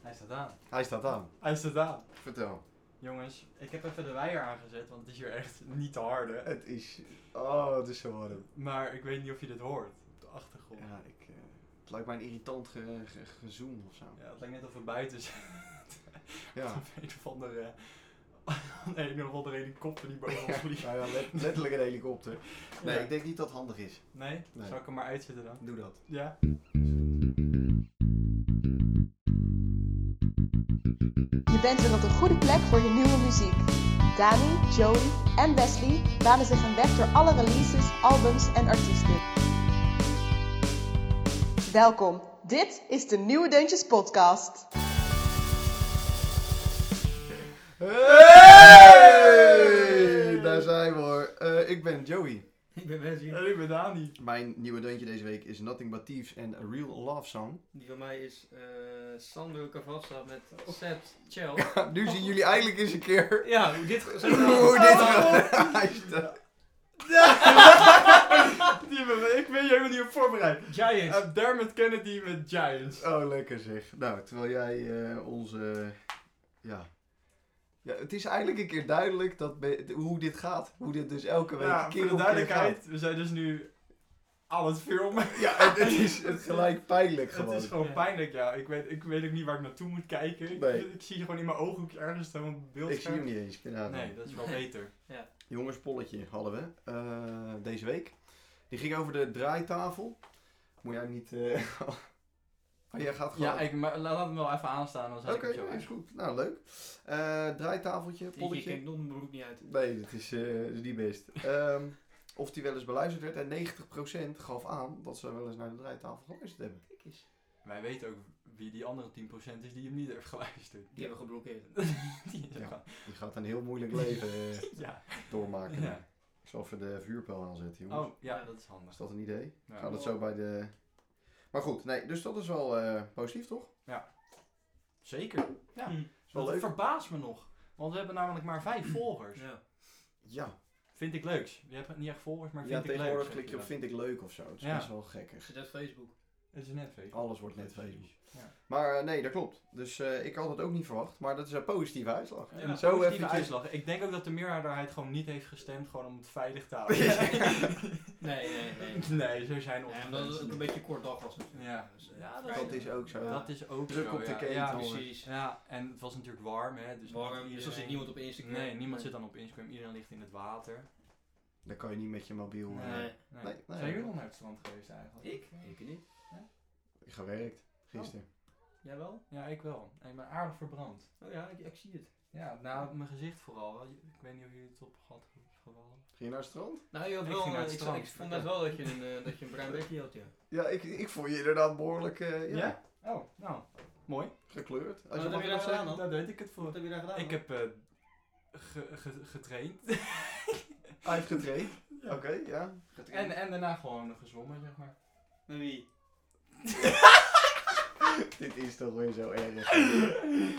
het aan. Hij staat aan. Hij staat aan. Vertel. Jongens, ik heb even de weier aangezet, want het is hier echt niet te harde. Het is... Oh, het is zo warm. Maar ik weet niet of je dit hoort op de achtergrond. Ja, ik... eh, het lijkt mij een irritant ge, ge- gezoem of zo. Ja, het lijkt net of we buiten zijn. Ja. Of een of andere... Een of andere helikopter die boven ons vliegt. Nou ja, let- letterlijk een helikopter. Nee, Ja. ik denk niet dat het handig is. Nee? Nee. Zal ik hem maar uitzetten dan? Doe dat. Ja. Je bent weer op de goede plek voor je nieuwe muziek. Dani, Joey en Wesley banen zich een weg door alle releases, albums en artiesten. Welkom, dit is de Nieuwe Deuntjes Podcast. Hey! Daar zijn we hoor. Eh, ik ben Joey. Ik ben Wesley. En ik ben Dani. Mijn nieuwe deuntje deze week is Nothing But Thieves and A Real Love Song. Die van mij is eh Sandro Cavazza met Oh. Seth Chell. nu zien jullie eindelijk eens een keer Ja, hoe dit zo hoe dit Oh, gaat. Hij staat- Die hebben we- ik ben je helemaal niet op voorbereid. Giant. Eh, Dermot Kennedy met Giants. Oh, lekker zeg. Nou, terwijl jij eh, onze... Ja. ja. Het is eigenlijk een keer duidelijk dat be- hoe dit gaat. Hoe dit dus elke week Ja, keer voor de op keer duidelijkheid, we zijn dus nu aan het filmen. gaat. Ja, het, het is het gelijk pijnlijk Het gewoon. is gewoon Ja. pijnlijk, ja. Ik weet, ik weet ook niet waar ik naartoe moet kijken. Ik- Nee. Ik, zie gewoon in mijn ooghoekje ergens dan op het Ik zie hem beeldscherm. niet eens. Ja, Nee, dat is wel Nee. beter. Jongens, polletje hadden we eh, deze week. Die ging over de draaitafel. Moet jij hem niet... eh, oh, jij gaat gewoon... Ja, ik, maar laat hem wel even aanstaan, dan Oké, zet ik ja, het is zo goed. Nou, leuk. Eh, draaitafeltje, Ik polletje. ken nog mijn broek niet uit. Nee, dat is, eh, dat is niet best. Ehm, of die wel eens beluisterd werd. En 90% gaf aan dat ze wel eens naar de draaitafel geluisterd hebben. Kijk eens. Wij weten ook wie die andere 10% is die hem niet heeft geluisterd. Die hebben we geblokkeerd. Die is Ja. ja. Die gaat een heel moeilijk leven eh, Ja. doormaken. ja. Ik zal even de vuurpijl aanzetten, jongens. Oh, ja, dat is handig. Is dat een idee? Ja. Gaat het zo bij de... Maar goed, nee, dus dat is wel eh, positief, toch? Zeker. Ja. Hm. Is wel dat leuk. verbaast me nog. Want we hebben namelijk maar vijf volgers. Ja. Ja, Vind ik leuks. Je hebt niet echt volgers, maar vind ja ik leuk. tegenwoordig zeg klik je op dan. vind ik leuk of zo. Het is Ja. best wel gekkig. Zit uit Facebook. Het is net Facebook. Alles wordt net Facebook. Ja. Maar eh, nee, dat klopt. Dus eh, ik had het ook niet verwacht. Maar dat is een positieve uitslag. Ja, en zo zo positieve eventjes... uitslag. Ik denk ook dat de meerderheid gewoon niet heeft gestemd, gewoon om het veilig te houden. Nee, nee, nee. nee, zo zijn Ja, onze omdat het ook mensen. een beetje kort dag was natuurlijk. Ja. Dus, eh, Ja, Dat is ook zo. Dat is ook Druk zo, op de ja. ketel. Ja, jongen. precies. ja, en het was natuurlijk warm, hè. Dus niet Warm, dus er iedereen- zit niemand op Instagram. Nee, niemand zit dan op Instagram. Iedereen ligt in het water. Dan kan je niet met je mobiel... eh, Nee. Nee. Nee, nee. Zijn jullie nog naar het strand geweest eigenlijk? Ik? Ik niet. Ik gewerkt. Gisteren. Jij wel? Ja, ik wel. En Ik ben aardig verbrand. Oh ja, ik, ik zie het. Ja, nou, mijn gezicht vooral. Ik weet niet of jullie het op had gevallen. Ging je naar het strand? Nou, je had Ik wel, ging naar eh, het ik, strand. ik vond net wel dat je een, eh, dat je een bruin bekje had, ja. Ja, ik, ik vond je inderdaad behoorlijk eh, ja, Oh, nou. Mooi. gekleurd. Als Oh, je mag dat heb je daar dat zeggen. gedaan dan? Daar deed ik het voor. Wat heb je daar gedaan? Ik heb eh, ge- ge- getraind. Hij heeft getraind. Oké, ja. En, en daarna gewoon gezwommen, zeg maar. Met wie? Dit is toch weer zo erg. Mensen-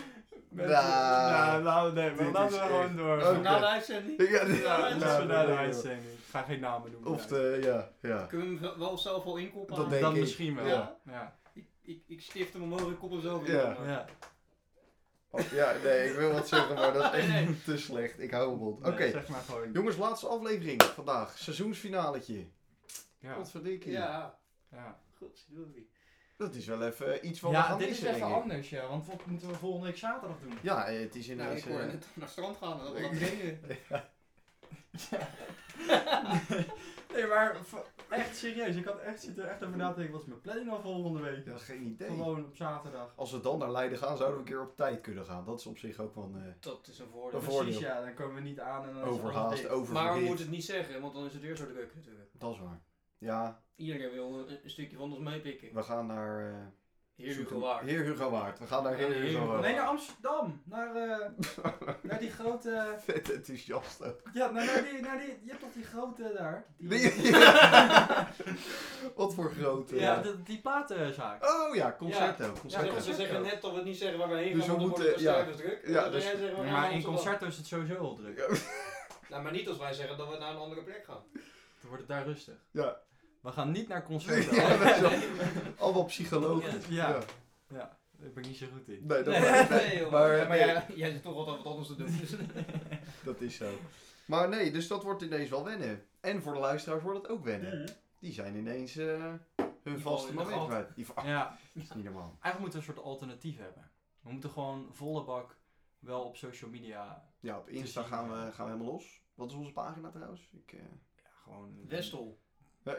Nou, ja, laten we, nee, dit maar laten is we gewoon echt- Oh, nou, door. Oké. Na de uitzending? Ja, dit- Ja, Ja, dat dat is is nou, voor na de eh. nee, uitzending. Ik ga geen namen noemen. Of Ja. de... Ja, ja. Kunnen we hem wel zelf al inkoppen? Dat aan? denk Dan ik. misschien wel. Ja. Ja. Ik, ik, ik stift hem omhoog, ik kop hem zo weer. Ja. omhoog. Ja. Oh, ja, nee, ik wil wat zeggen, maar dat is Nee, echt te slecht. Ik hou hem op. Oké. Nee, zeg maar gewoon. Jongens, laatste aflevering vandaag. Seizoensfinaletje. Ja. Wat verdikkie. Ja, Ja, godverdorie. Dat is wel even eh, iets wat we ja gaan dit is missen, even denk ik. anders, ja. Want wat moeten we volgende week zaterdag doen? Ja, eh, het is Nou, inderdaad... ik hoor eh, net naar het strand gaan en dat we Ik- dat brengen. Nee, maar v- echt serieus. Ik had echt zitten echt over na te denken. Wat is mijn planning al volgende week? ja, geen idee. Gewoon op zaterdag. Als we dan naar Leiden gaan, zouden we een keer op tijd kunnen gaan. Dat is op zich ook wel een eh, Dat is een Een voordeel. voordeel. Precies, ja. Dan komen we niet aan en dan eh, is het allemaal overhaast, dik. Maar we oververhit. moeten het niet zeggen, want dan is het weer zo druk natuurlijk. Dat is waar. Ja, Iedereen wil een, een stukje van ons meepikken. we gaan naar... eh, Heer zoeken- Hugo Waard. Heer Hugo Waard. We gaan naar Ja, Heer Heer Hugo Hugo Waard. Nee, naar Amsterdam. Naar, eh, naar die grote... Vet enthousiast ook. Ja, naar, naar, die, naar die... Je hebt toch die grote daar? Die- Nee, Wat voor grote... Ja, eh, de- die platenzaak. Oh ja, concerten. Ja, concerten. ze- ze zeggen net dat we het niet zeggen waar we heen Dus gaan, we want dan moeten- wordt het cijfers druk. ja, En dan dus- jij zeggen we gaan Maar naar in Amsterdam. concerten is het sowieso heel druk. Nou, maar niet als wij zeggen dat we naar een andere plek gaan. Dan wordt het daar rustig. Ja. We gaan niet naar concerten. Ja, dat is wel- Allemaal psychologen. Ja. Ja. Ja. Daar ben ik niet zo goed in. Nee, dat, Nee, maar, nee, joh. maar, Ja, maar nee, jij, jij zit toch altijd wat anders te doen. Dus. dat is zo. Maar nee, dus dat wordt ineens wel wennen. En voor de luisteraars wordt het ook wennen. Mhm. Die zijn ineens eh, hun vallen vaste in de moment gat. kwijt. Die va- Ja, dat is niet normaal. eigenlijk moeten we een soort alternatief hebben. We moeten gewoon volle bak wel op social media. Ja, op is Insta niet gaan we, normaal. gaan we helemaal los. Wat is onze pagina trouwens? Ik, eh, Ja, gewoon. Westel. Oh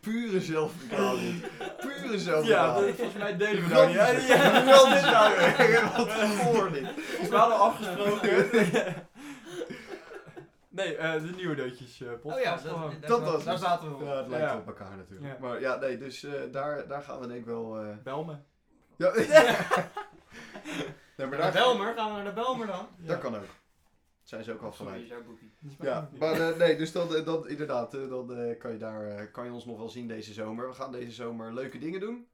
Pure zelfverklaring. Pure Ja, zelfverklaring. dat- volgens mij deden we dat dat niet. is Ja, het. ja. Wel dit nou weer. Wat voor dit. We hadden afgesproken. nee, eh, de nieuwe deutjes eh podcast. Oh ja, dat, gewoon. daar, Dat was daar het. zaten we Ja, voor. het lijkt Ja. op elkaar natuurlijk. Ja. Maar ja, nee, dus eh, daar, daar gaan we denk ik wel... eh, Bel me. Ja. nee, maar Naar daar, Belmer, gaan we naar de Belmer dan? Ja. dat kan ook. Zijn ze ook al Sorry, vanuit. is jouw boekie. Dat is maar Ja, goed. maar eh, nee, dus dan, eh, dan inderdaad, eh, dan eh, kan, je daar, eh, kan je ons nog wel zien deze zomer. We gaan deze zomer leuke dingen doen,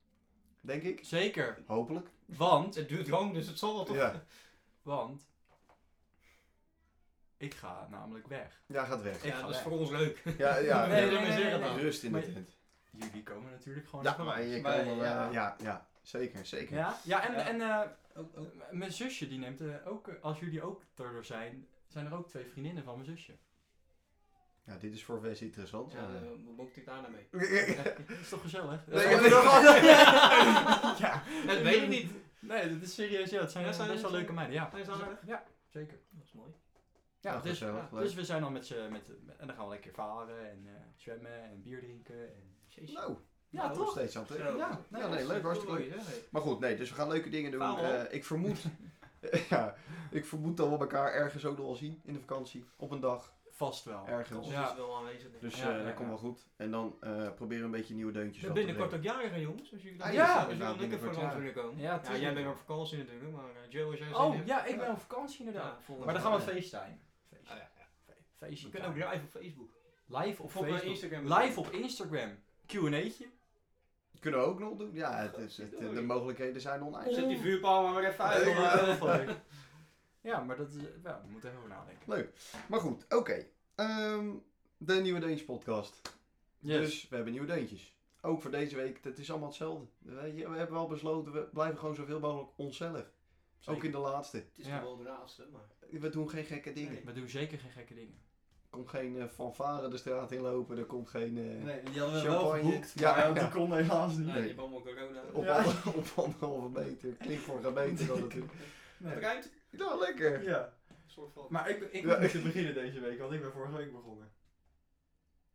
denk ik. Zeker, Hopelijk. want, Het duurt lang, dus het zal wel toch? Ja, want ik ga namelijk weg. ja gaat weg. Ik Ja, ga dat is weg. voor ons leuk. Ja, ja. Nee, nee, nee, nee, nee, nee, nee. nee. Rust in de Maar- tent. Jullie komen natuurlijk gewoon Ja, even maar langs. je Maar kan wel... eh, ja. ja, ja, zeker, zeker. Ja, ja en, Ja. en eh, Oh, oh. m- mijn zusje die neemt eh, ook, eh, als jullie ook er zijn, zijn er ook twee vriendinnen van mijn zusje. Ja, dit is voor Wes interessant. Ja, Ja, eh, hoe boekt ik daar nou mee? Dat is toch gezellig? Nee, ja, ik heb het ja. eh, Dat weet ik niet. Nee, dat is serieus, ja. Het zijn, eh, Ja, best zijn wel het- leuke meiden, ja. Zijn ze aardig? Ja, zeker. Dat is mooi. ja Ja, dus, gezellig, Dus we zijn dan met z'n, met, met- en dan gaan we lekker varen en eh, zwemmen en bier drinken. En... leuk. Jezus. Nou, Ja, nog toch? steeds aan het Zo. Ja, nee, nee, leuk, hartstikke leuk. Mooi, hè? Hey. Maar goed, nee, dus we gaan leuke dingen doen. Faal. Eh, ik vermoed... ja, ik vermoed dat we elkaar ergens ook nog wel zien in de vakantie. Op een dag, Vast wel. ergens. Kans Ja. is wel aanwezig. denk ik. Dus Ja, eh, ja, dat komt ja. wel goed. En dan eh proberen een beetje nieuwe deuntjes Ik ben wat te binnenkort brengen. ook jarigen, jongens. Als jullie Ah, dat ja, ja, dus inderdaad, dan lekker voor binnenkort, ons ja. willen komen. Ja, Ja, jij tuurlijk. bent op vakantie natuurlijk, maar eh, Joe, als jij zin Oh, hebt- ja, ik ben op vakantie inderdaad. volgende Maar dan week. gaan we FaceTime. Ah, ja, Feestje. ja. Feestje. We kunnen ook live op Facebook. Live op Of op eh, Facebook. Instagram. Live op Instagram. Q&A'tje. Kunnen we ook nog doen? Ja, het is, het- de mogelijkheden zijn oneindig. Oh. Zet die vuurpaal maar maar even uit. Nee, jongen. ja. Ja, maar dat is... Ja, we moeten even over nadenken. Maar goed, oké. Ehm, de Nieuwe Deuntjes podcast. Yes. Dus we hebben nieuwe deuntjes. Ook voor deze week, het is allemaal hetzelfde. Weet je, We hebben wel besloten, we blijven gewoon zoveel mogelijk onszelf. Ook in de laatste. Het is Ja. toch wel de laatste, maar... We doen geen gekke dingen. Nee. Er We doen zeker geen gekke dingen. komt geen eh, fanfare de straat inlopen, er komt geen... eh, Nee, die hadden we wel Champagne. geboekt, Ja, maar, eh, ja. die kon helaas niet. Nee, Nee. je hebt allemaal corona. Op, Ja. ander- op anderhalve meter. Klinkt voor een meter dan natuurlijk. Het ruimt. Nou, lekker. Ja. soort van... Maar ik, ik Ja. moet te beginnen deze week, want ik ben vorige week begonnen.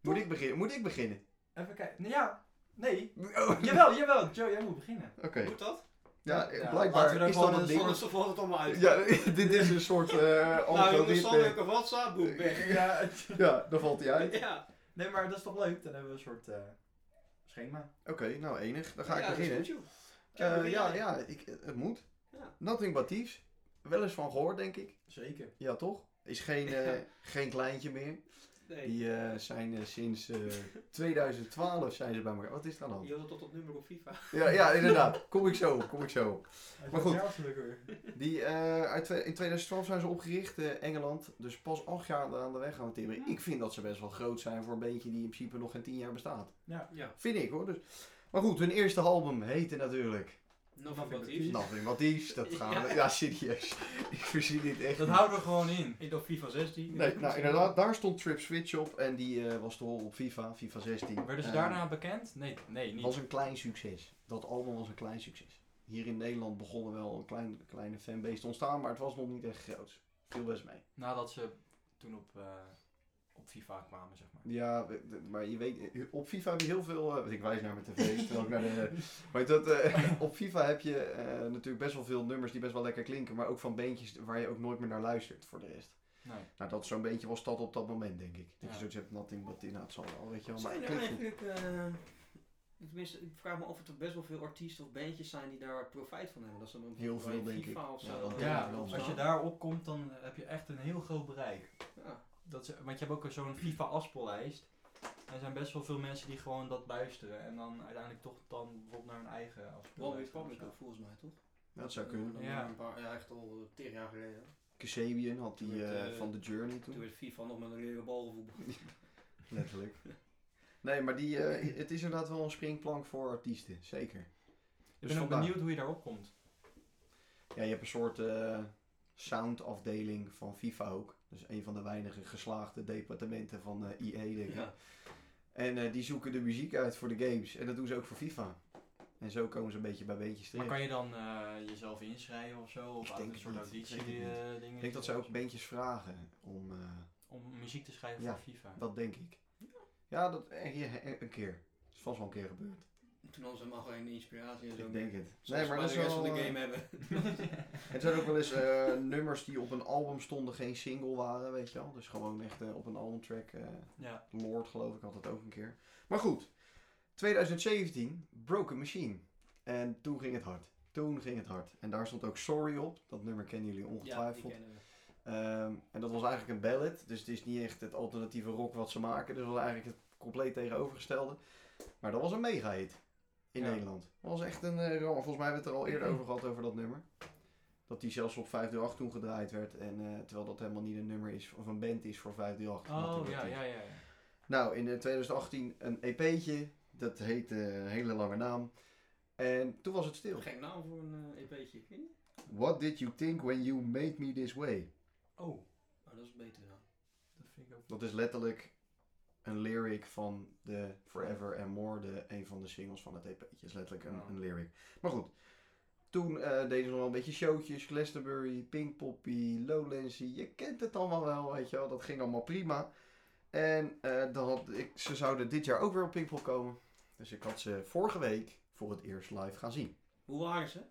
Moet ik beginnen? Moet ik beginnen? Even kijken. Nou ja, nee. Oh, Jawel, jawel, Joe, jij moet beginnen. Oké. Moet dat? Ja, eh, Ja, blijkbaar laten we dan is gewoon dat een een ding. soort- Anders valt het allemaal uit. Ja, dit is een soort eh nou jongens, algoritme. Sander Cavazza, boek weg. Ja, het- Ja, dan valt hij uit. Ja. nee, maar dat is toch leuk? Dan hebben we een soort eh, schema. Oké, nou enig. Dan ga ik Ja, dat is beginnen. goed, joh. Eh, begin ja, jij. ja, ik, het moet. Ja. Nothing but thieves. Wel eens van gehoord, denk ik. Zeker. Ja, toch? Is geen, eh, geen kleintje meer. Nee, Die eh, zijn eh, sinds eh, 2012 zijn ze bij elkaar. Wat is dat dan? je wil tot op nummer op FIFA. Ja, ja, inderdaad. Kom ik zo op, kom ik zo op. Maar goed. weer. Die, eh, uit, twe- in 2012 zijn ze opgericht, eh, Engeland. Dus pas acht jaar aan de weg gaan timmeren. Ik vind dat ze best wel groot zijn voor een beentje die in principe nog geen tien jaar bestaat. Ja. Vind ik hoor. Dus. Maar goed, hun eerste album heette natuurlijk Nothing Nothing but but Thieves. Nothing But Thieves. Dat gaan we... Ja, serieus. Ik voorzie dit echt Dat niet. houden we gewoon in. Ik dacht FIFA 16. Nee, nou inderdaad, daar stond Trip Switch op en die eh, was te horen op FIFA, FIFA 16. Werden ze Eh, daarna bekend? Nee, nee, niet. was een klein succes. Dat album was een klein succes. Hier in Nederland begonnen wel een klein, kleine fanbase te ontstaan, maar het was nog niet echt groot. Viel best mee. Nadat ze toen op, eh, op FIFA kwamen, zeg maar. Ja, we- de- maar je weet, eh, op FIFA heb je heel veel. eh, want ik wijs naar mijn tv, terwijl ik naar de. Maar dat, eh, op FIFA heb je eh, natuurlijk best wel veel nummers die best wel lekker klinken, maar ook van beentjes waar je ook nooit meer naar luistert voor de rest. Nee. Nou, dat zo'n beentje was dat op dat moment, denk ik. Dat Ja. je zoiets hebt, nothing but in, nou, het zal wel, weet je wel. Maar Zijn het er klinkt goed. eigenlijk... eh, Tenminste, ik vraag me af of er best wel veel artiesten of bandjes zijn die daar profijt van hebben. Dat ze dan Heel veel, bij denk FIFA ik. Of Ja, zo, dat eh, denk ik Ja, wel. opstaan. als je daarop komt, dan heb je echt een heel groot bereik. Ja. Dat ze, want je hebt ook zo'n FIFA afspeellijst. En er zijn best wel veel mensen die gewoon dat luisteren. En dan uiteindelijk toch dan bijvoorbeeld naar hun eigen One Way afspeellijst. gaan of Public zo. ook volgens mij, toch? Ja, dat zou kunnen. Dan Ja. Een paar, ja, echt al eh, tien jaar geleden. Kasabian had die Toen werd, eh, eh, van The Journey Toen toen. werd FIFA nog met een leren bal gevoetbald. Letterlijk. Nee, maar die, eh, het is inderdaad wel een springplank voor artiesten, zeker. Ik Dus ben ook vandaar. benieuwd hoe je daarop komt. Ja, je hebt een soort eh, soundafdeling van FIFA ook. Dus een van de weinige geslaagde departementen van eh EA, denk ik. Ja. En eh, die zoeken de muziek uit voor de games. En dat doen ze ook voor FIFA. En zo komen ze een beetje bij beentjes Maar kan terecht. je dan eh, jezelf inschrijven of zo? Of Ik aan denk een het soort niet. auditie Ik weet het eh, dingen? Ik denk dat ze ook beentjes vragen om... eh, Om muziek te schrijven Ja. voor FIFA. dat denk ik. Ja, dat, eh, ja, eh, een keer. Het is vast wel een keer gebeurd. Toen hadden ze helemaal geen inspiratie en zo. Ik denk het. nee, maar dat is de rest wel, van de eh, game hebben. Het zijn ook wel eens eh, nummers die op een album stonden, geen single waren, weet je wel. Dus gewoon echt eh, op een albumtrack. eh, Ja. Lord, geloof ik, had dat ook een keer. Maar goed, 2017, Broken Machine. En toen ging het hard. Toen ging het hard. En daar stond ook Sorry op. Dat nummer kennen jullie Ja, die ongetwijfeld. kennen we. Ehm, en dat was eigenlijk een ballad. Dus het is niet echt het alternatieve rock wat ze maken. Dus dat was eigenlijk het compleet tegenovergestelde. Maar dat was een mega hit. In Ja. Nederland. Dat was echt een eh, ramp. Volgens mij hebben we het er al eerder over gehad over dat nummer. Dat die zelfs op 538 toen gedraaid werd. En, eh, terwijl dat helemaal niet een nummer is of een band is voor 538. omdat die Oh, werd ja, toen ja, ja. ja. nou, in eh, 2018 een EP'tje. Dat heette een hele lange naam. En toen was het stil. Gek naam voor een eh, EP'tje. Ik weet niet. What did you think when you made me this way? Oh, Oh, dat is beter dan. dat vind ik ook. Dat is letterlijk een lyric van de Forever and More, de, een van de singles van het EP'tje. is letterlijk een, Ja. een lyric. Maar goed, toen eh, deden ze nog wel een beetje showtjes. Glastonbury, Pink Poppy, Lowlandsy. Je kent het allemaal wel, weet je wel. Dat ging allemaal prima. En eh, dan had ik, ze zouden dit jaar ook weer op Pinkpop komen. Dus ik had ze vorige week voor het eerst live gaan zien. Hoe waren ze?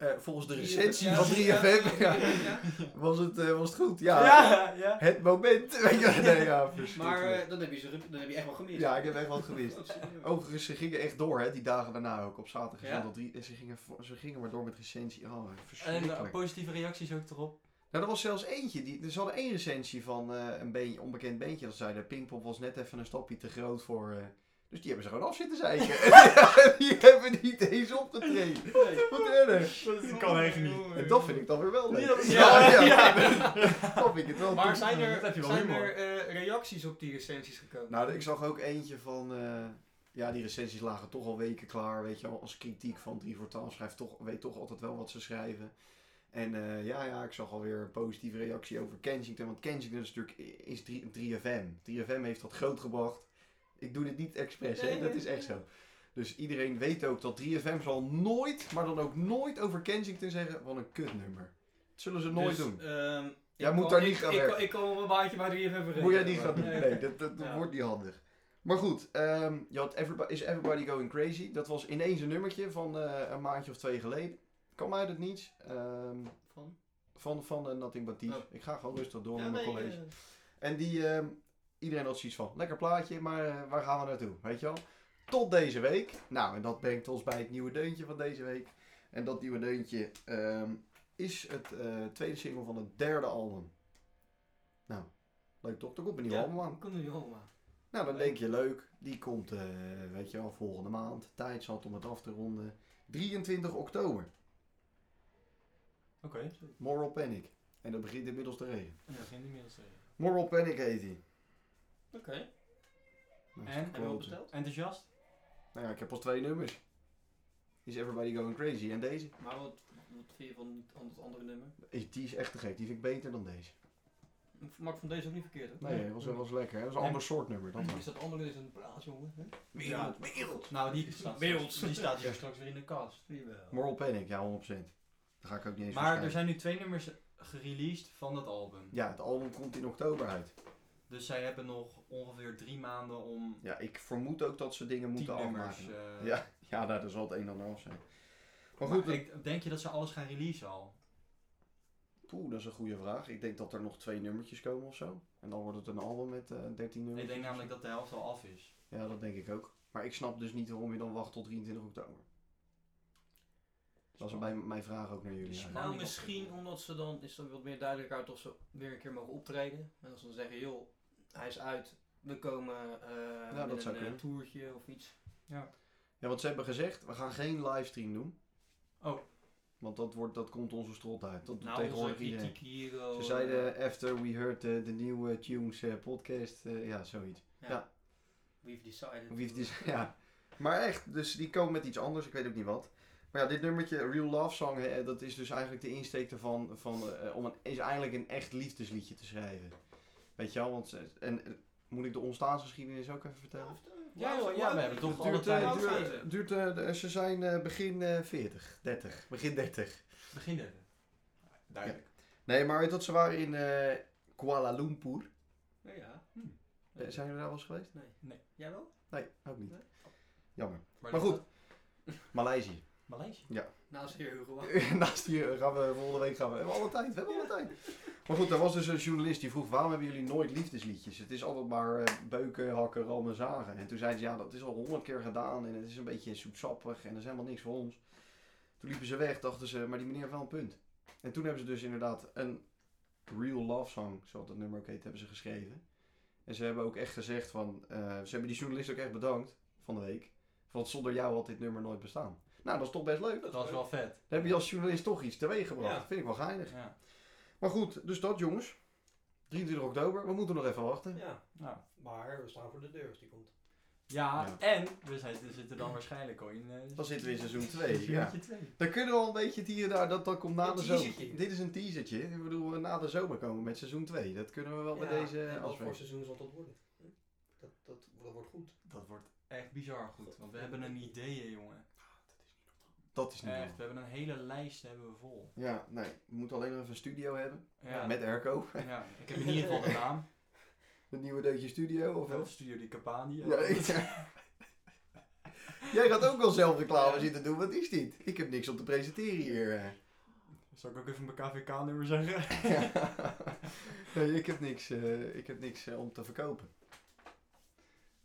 Eh, volgens de Drie- recensie ja, van ja, 3FM ja, ja, ja. was, het, eh, was het goed. Ja, Ja, ja. het moment. Weet je, wel. nee, ja, Maar verschrikkelijk. eh, dan, heb je ze, ge- dan heb je echt wel gemist. ja, ik heb echt wat gewist. Oh, serieus. Overigens, ze gingen echt door, hè, die dagen daarna ook. Op zaterdag Ja? ja? tot drie. En ze gingen, vo- ze gingen maar door met recensie. Oh, En verschrikkelijk. eh, positieve reacties ook erop. Nou, er was zelfs eentje. Die, er hadden één recensie van eh, een beentje, onbekend beentje. Dat zei de Pinkpop was net even een stapje te groot voor... eh, dus die hebben ze gewoon af zitten zeiken. die hebben niet eens opgetreden. Nee. Wat erg. Dat kan echt niet. En dat vind ik dan weer wel leuk. Ja, ja, ja. Dat vind ik het wel. Maar tof. zijn Dat heb je er, wel zijn humor. er eh, reacties op die recensies gekomen? Nou, ik zag ook eentje van... eh, ja, die recensies lagen toch al weken klaar, weet je wel. Als kritiek van 3 voor 12 schrijft toch, weet toch altijd wel wat ze schrijven. En eh, ja, ja, ik zag alweer een positieve reactie over Kensington. Want Kensington is natuurlijk is 3, 3FM. 3FM heeft dat groot gebracht. Ik doe dit niet expres, Nee, hè. Dat nee, is echt nee. zo. Dus iedereen weet ook dat 3FM zal nooit, maar dan ook nooit over Kensington zeggen... Wat een kutnummer. Dat zullen ze nooit Dus, doen. ehm, ik Jij moet kan- daar niet ik- gaan ik, kan- werken. Ik kom op een baantje bij 3FM vergeten. Moet jij niet gaan doen. Nee. Nee, dat, dat Ja. wordt niet handig. Maar goed, ehm, je had Everybody, Is Everybody Going Crazy? Dat was ineens een nummertje van eh, een maandje of twee geleden. Kwam uit het niets. ehm, Van? van van eh, Nothing But Thieves. Oh. Ik ga gewoon rustig door Ja, met mijn nee, college. eh, En die, ehm, iedereen had zoiets van, lekker plaatje, maar eh, waar gaan we naartoe? Weet je wel? Tot deze week. Nou, en dat brengt ons bij het nieuwe deuntje van deze week. En dat nieuwe deuntje ehm, is het eh, tweede single van het derde album. Nou, leuk toch? Er komt een nieuw Ja. album aan. hoe komt het nu allemaal? Nou, dan denk je leuk. Die komt, eh, weet je wel, volgende maand. Tijd zat om het af te ronden. 23 oktober. Oké. Moral Panic. En dat begint inmiddels te regenen. En dat ging inmiddels tegen. Moral Panic heet die. Oké, Nou, En? is Heb hebben we al quote. besteld? Enthousiast? Nou ja, ik heb pas twee nummers. Is Everybody Going Crazy. En deze? Maar wat, wat vind je van, van het andere nummer? Is- Die is echt te gek. Die vind ik beter dan deze. Ik maak van deze ook niet verkeerd, hè? Nee, dat was, dat was lekker. hè. Dat was een En- ander soort nummer. Dat was. Is dat andere is een plaats, jongen? hè? Wereld, wereld. Nou, die staat, Werelds. die staat hier straks weer in de kast. Jawel. Moral Panic, ja, 100%. Daar ga ik ook niet eens voor Maar er schrijven. zijn nu twee nummers gereleased van dat album. Ja, het album komt in oktober uit. Dus zij hebben nog ongeveer drie maanden om Ja, ik vermoed ook dat ze dingen tien moeten nummers... afmaken. eh, Ja, ja daar zal het een en ander af zijn. Maar Maar goed, goed, ik, denk je dat ze alles gaan releasen al? Oeh, dat is een goede vraag. Ik denk dat er nog twee nummertjes komen of zo. En dan wordt het een album met eh 13 nummers. Ik denk namelijk dat de helft al af is. Ja, dat denk ik ook. Maar ik snap dus niet waarom je dan wacht tot 23 oktober. Dat is bij mijn vraag ook naar jullie. Dus- eigenlijk. Nou, misschien omdat ze dan, is dan wat meer duidelijk uit of ze weer een keer mogen optreden. En als ze dan zeggen, joh, hij is uit, we komen eh dat met zou een eh, kunnen. toertje of iets. Ja, want ze hebben gezegd, we gaan geen livestream doen. Oh. Want dat, wordt, dat komt onze strot uit. Dat doet Nou, onze tegenwoordig kritiek iedereen. hier. Ze oh, eh, zeiden, after we heard eh, de nieuwe Tunes eh, podcast, eh, ja, zoiets. ja, ja. We've decided. Of wie heeft die- ja. Maar echt, dus die komen met iets anders, ik weet ook niet wat. Maar ja, dit nummertje, Real Love Song, hè, dat is dus eigenlijk de insteek ervan van, eh, om een, is eigenlijk een echt liefdesliedje te schrijven. Weet je wel, want ze- en eh, moet ik de ontstaansgeschiedenis ook even vertellen? Ja, joh, ja, we hebben toch Het alle duurt, tijd. eh, Hoe oud zijn duurt, duurt, eh, de- ze zijn eh, begin eh 40, 30, begin 30. Begin derde. Duidelijk. Nee, maar weet je wat, ze waren in eh, Kuala Lumpur. Ja, ja. Hm. Eh, zijn jullie daar wel eens geweest? Nee. Nee. Jij wel? Nee, ook niet. Nee. Jammer. Waar Maar ligt goed. dat? Maleisië. Maleisië. Naast Heer Hugo. Naast hier gaan we volgende week gaan we. We hebben alle tijd, we hebben alle tijd. Maar goed, er was dus een journalist die vroeg: waarom hebben jullie nooit liefdesliedjes? Het is altijd maar eh, beuken, hakken, rammen, zagen. En toen zei ze: ja, dat is al honderd keer gedaan en het is een beetje soepsappig en er is helemaal niks voor ons. Toen liepen ze weg, dachten ze: maar die meneer heeft wel een punt. En toen hebben ze dus inderdaad een real love song, zoals dat nummer ook heet, hebben ze geschreven. En ze hebben ook echt gezegd van, eh, ze hebben die journalist ook echt bedankt van de week. Want zonder jou had dit nummer nooit bestaan. Nou, dat is toch best leuk. Dat was wel vet. Dan heb je als journalist toch iets teweeg gebracht. Ja. Vind ik wel geinig. Ja. Maar goed, dus dat jongens. 23 oktober, we moeten nog even wachten. Ja, Nou. maar we staan voor de deur als die komt. Ja, Ja. en we zitten, zitten dan waarschijnlijk al in... eh, Dan zitten we in seizoen 2. Ja. seizoentje twee. Dan kunnen we al een beetje het hier en daar, dat, dat komt na Een de zomer. teasertje. Dit is een teasertje. Ik bedoel, na de zomer komen we met seizoen 2. Dat kunnen we wel met deze en wat voor afspreken. seizoen zal dat worden? Hm? Dat, dat, dat wordt goed. Dat wordt echt bizar goed, want we hebben een idee, jongen. Dat is niet Echt, normaal. we hebben een hele lijst hebben we vol. Ja, nee. We moeten alleen nog even een studio hebben. Ja, Met airco. ja. ik heb in ieder geval de naam. Een nieuwe deutje studio of Of wat? Studio die Capani. Ja, ik- Jij gaat ook wel zelf reclame zitten doen. Wat is dit? Ik heb niks om te presenteren hier. eh. Zal ik ook even mijn KVK-nummer zeggen? nee, ik heb niks, eh, ik heb niks eh, om te verkopen.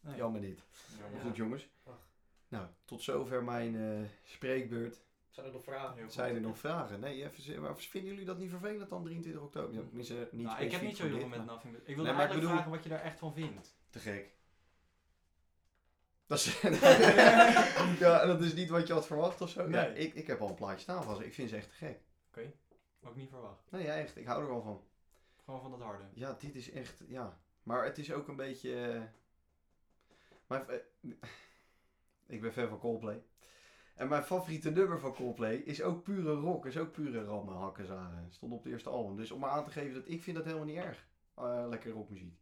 Nee. Jammer niet. Jammer. Maar Ja. goed jongens. Ach. Nou, tot zover mijn eh, spreekbeurt. Zijn er nog vragen? Heel goed. Zijn er nog vragen? Nee, even, z- maar vinden jullie dat niet vervelend dan 23 oktober? Ja, tenminste, niet nou, ik heb specifiek niet zo voor heel veel dit, met maar Nothing But... Ik wilde Nee, maar ik eigenlijk bedoel- vragen wat je daar echt van vindt. Te gek. Dat is, ja, dat is niet wat je had verwacht of zo. Nee. Nee. ik, ik heb al een plaatje staan van ze. Ik vind ze echt te gek. Ook niet verwacht. Nee, ja, echt. Ik hou er wel van. Gewoon van dat harde. Ja, dit is echt, ja. Maar het is ook een beetje... eh, mijn, eh, ik ben fan van Coldplay. En mijn favoriete nummer van Coldplay is ook pure rock. Is ook pure rammen, hakken, zagen. Stond op het eerste album. Dus om maar aan te geven dat ik vind dat helemaal niet erg. Eh, lekker rockmuziek.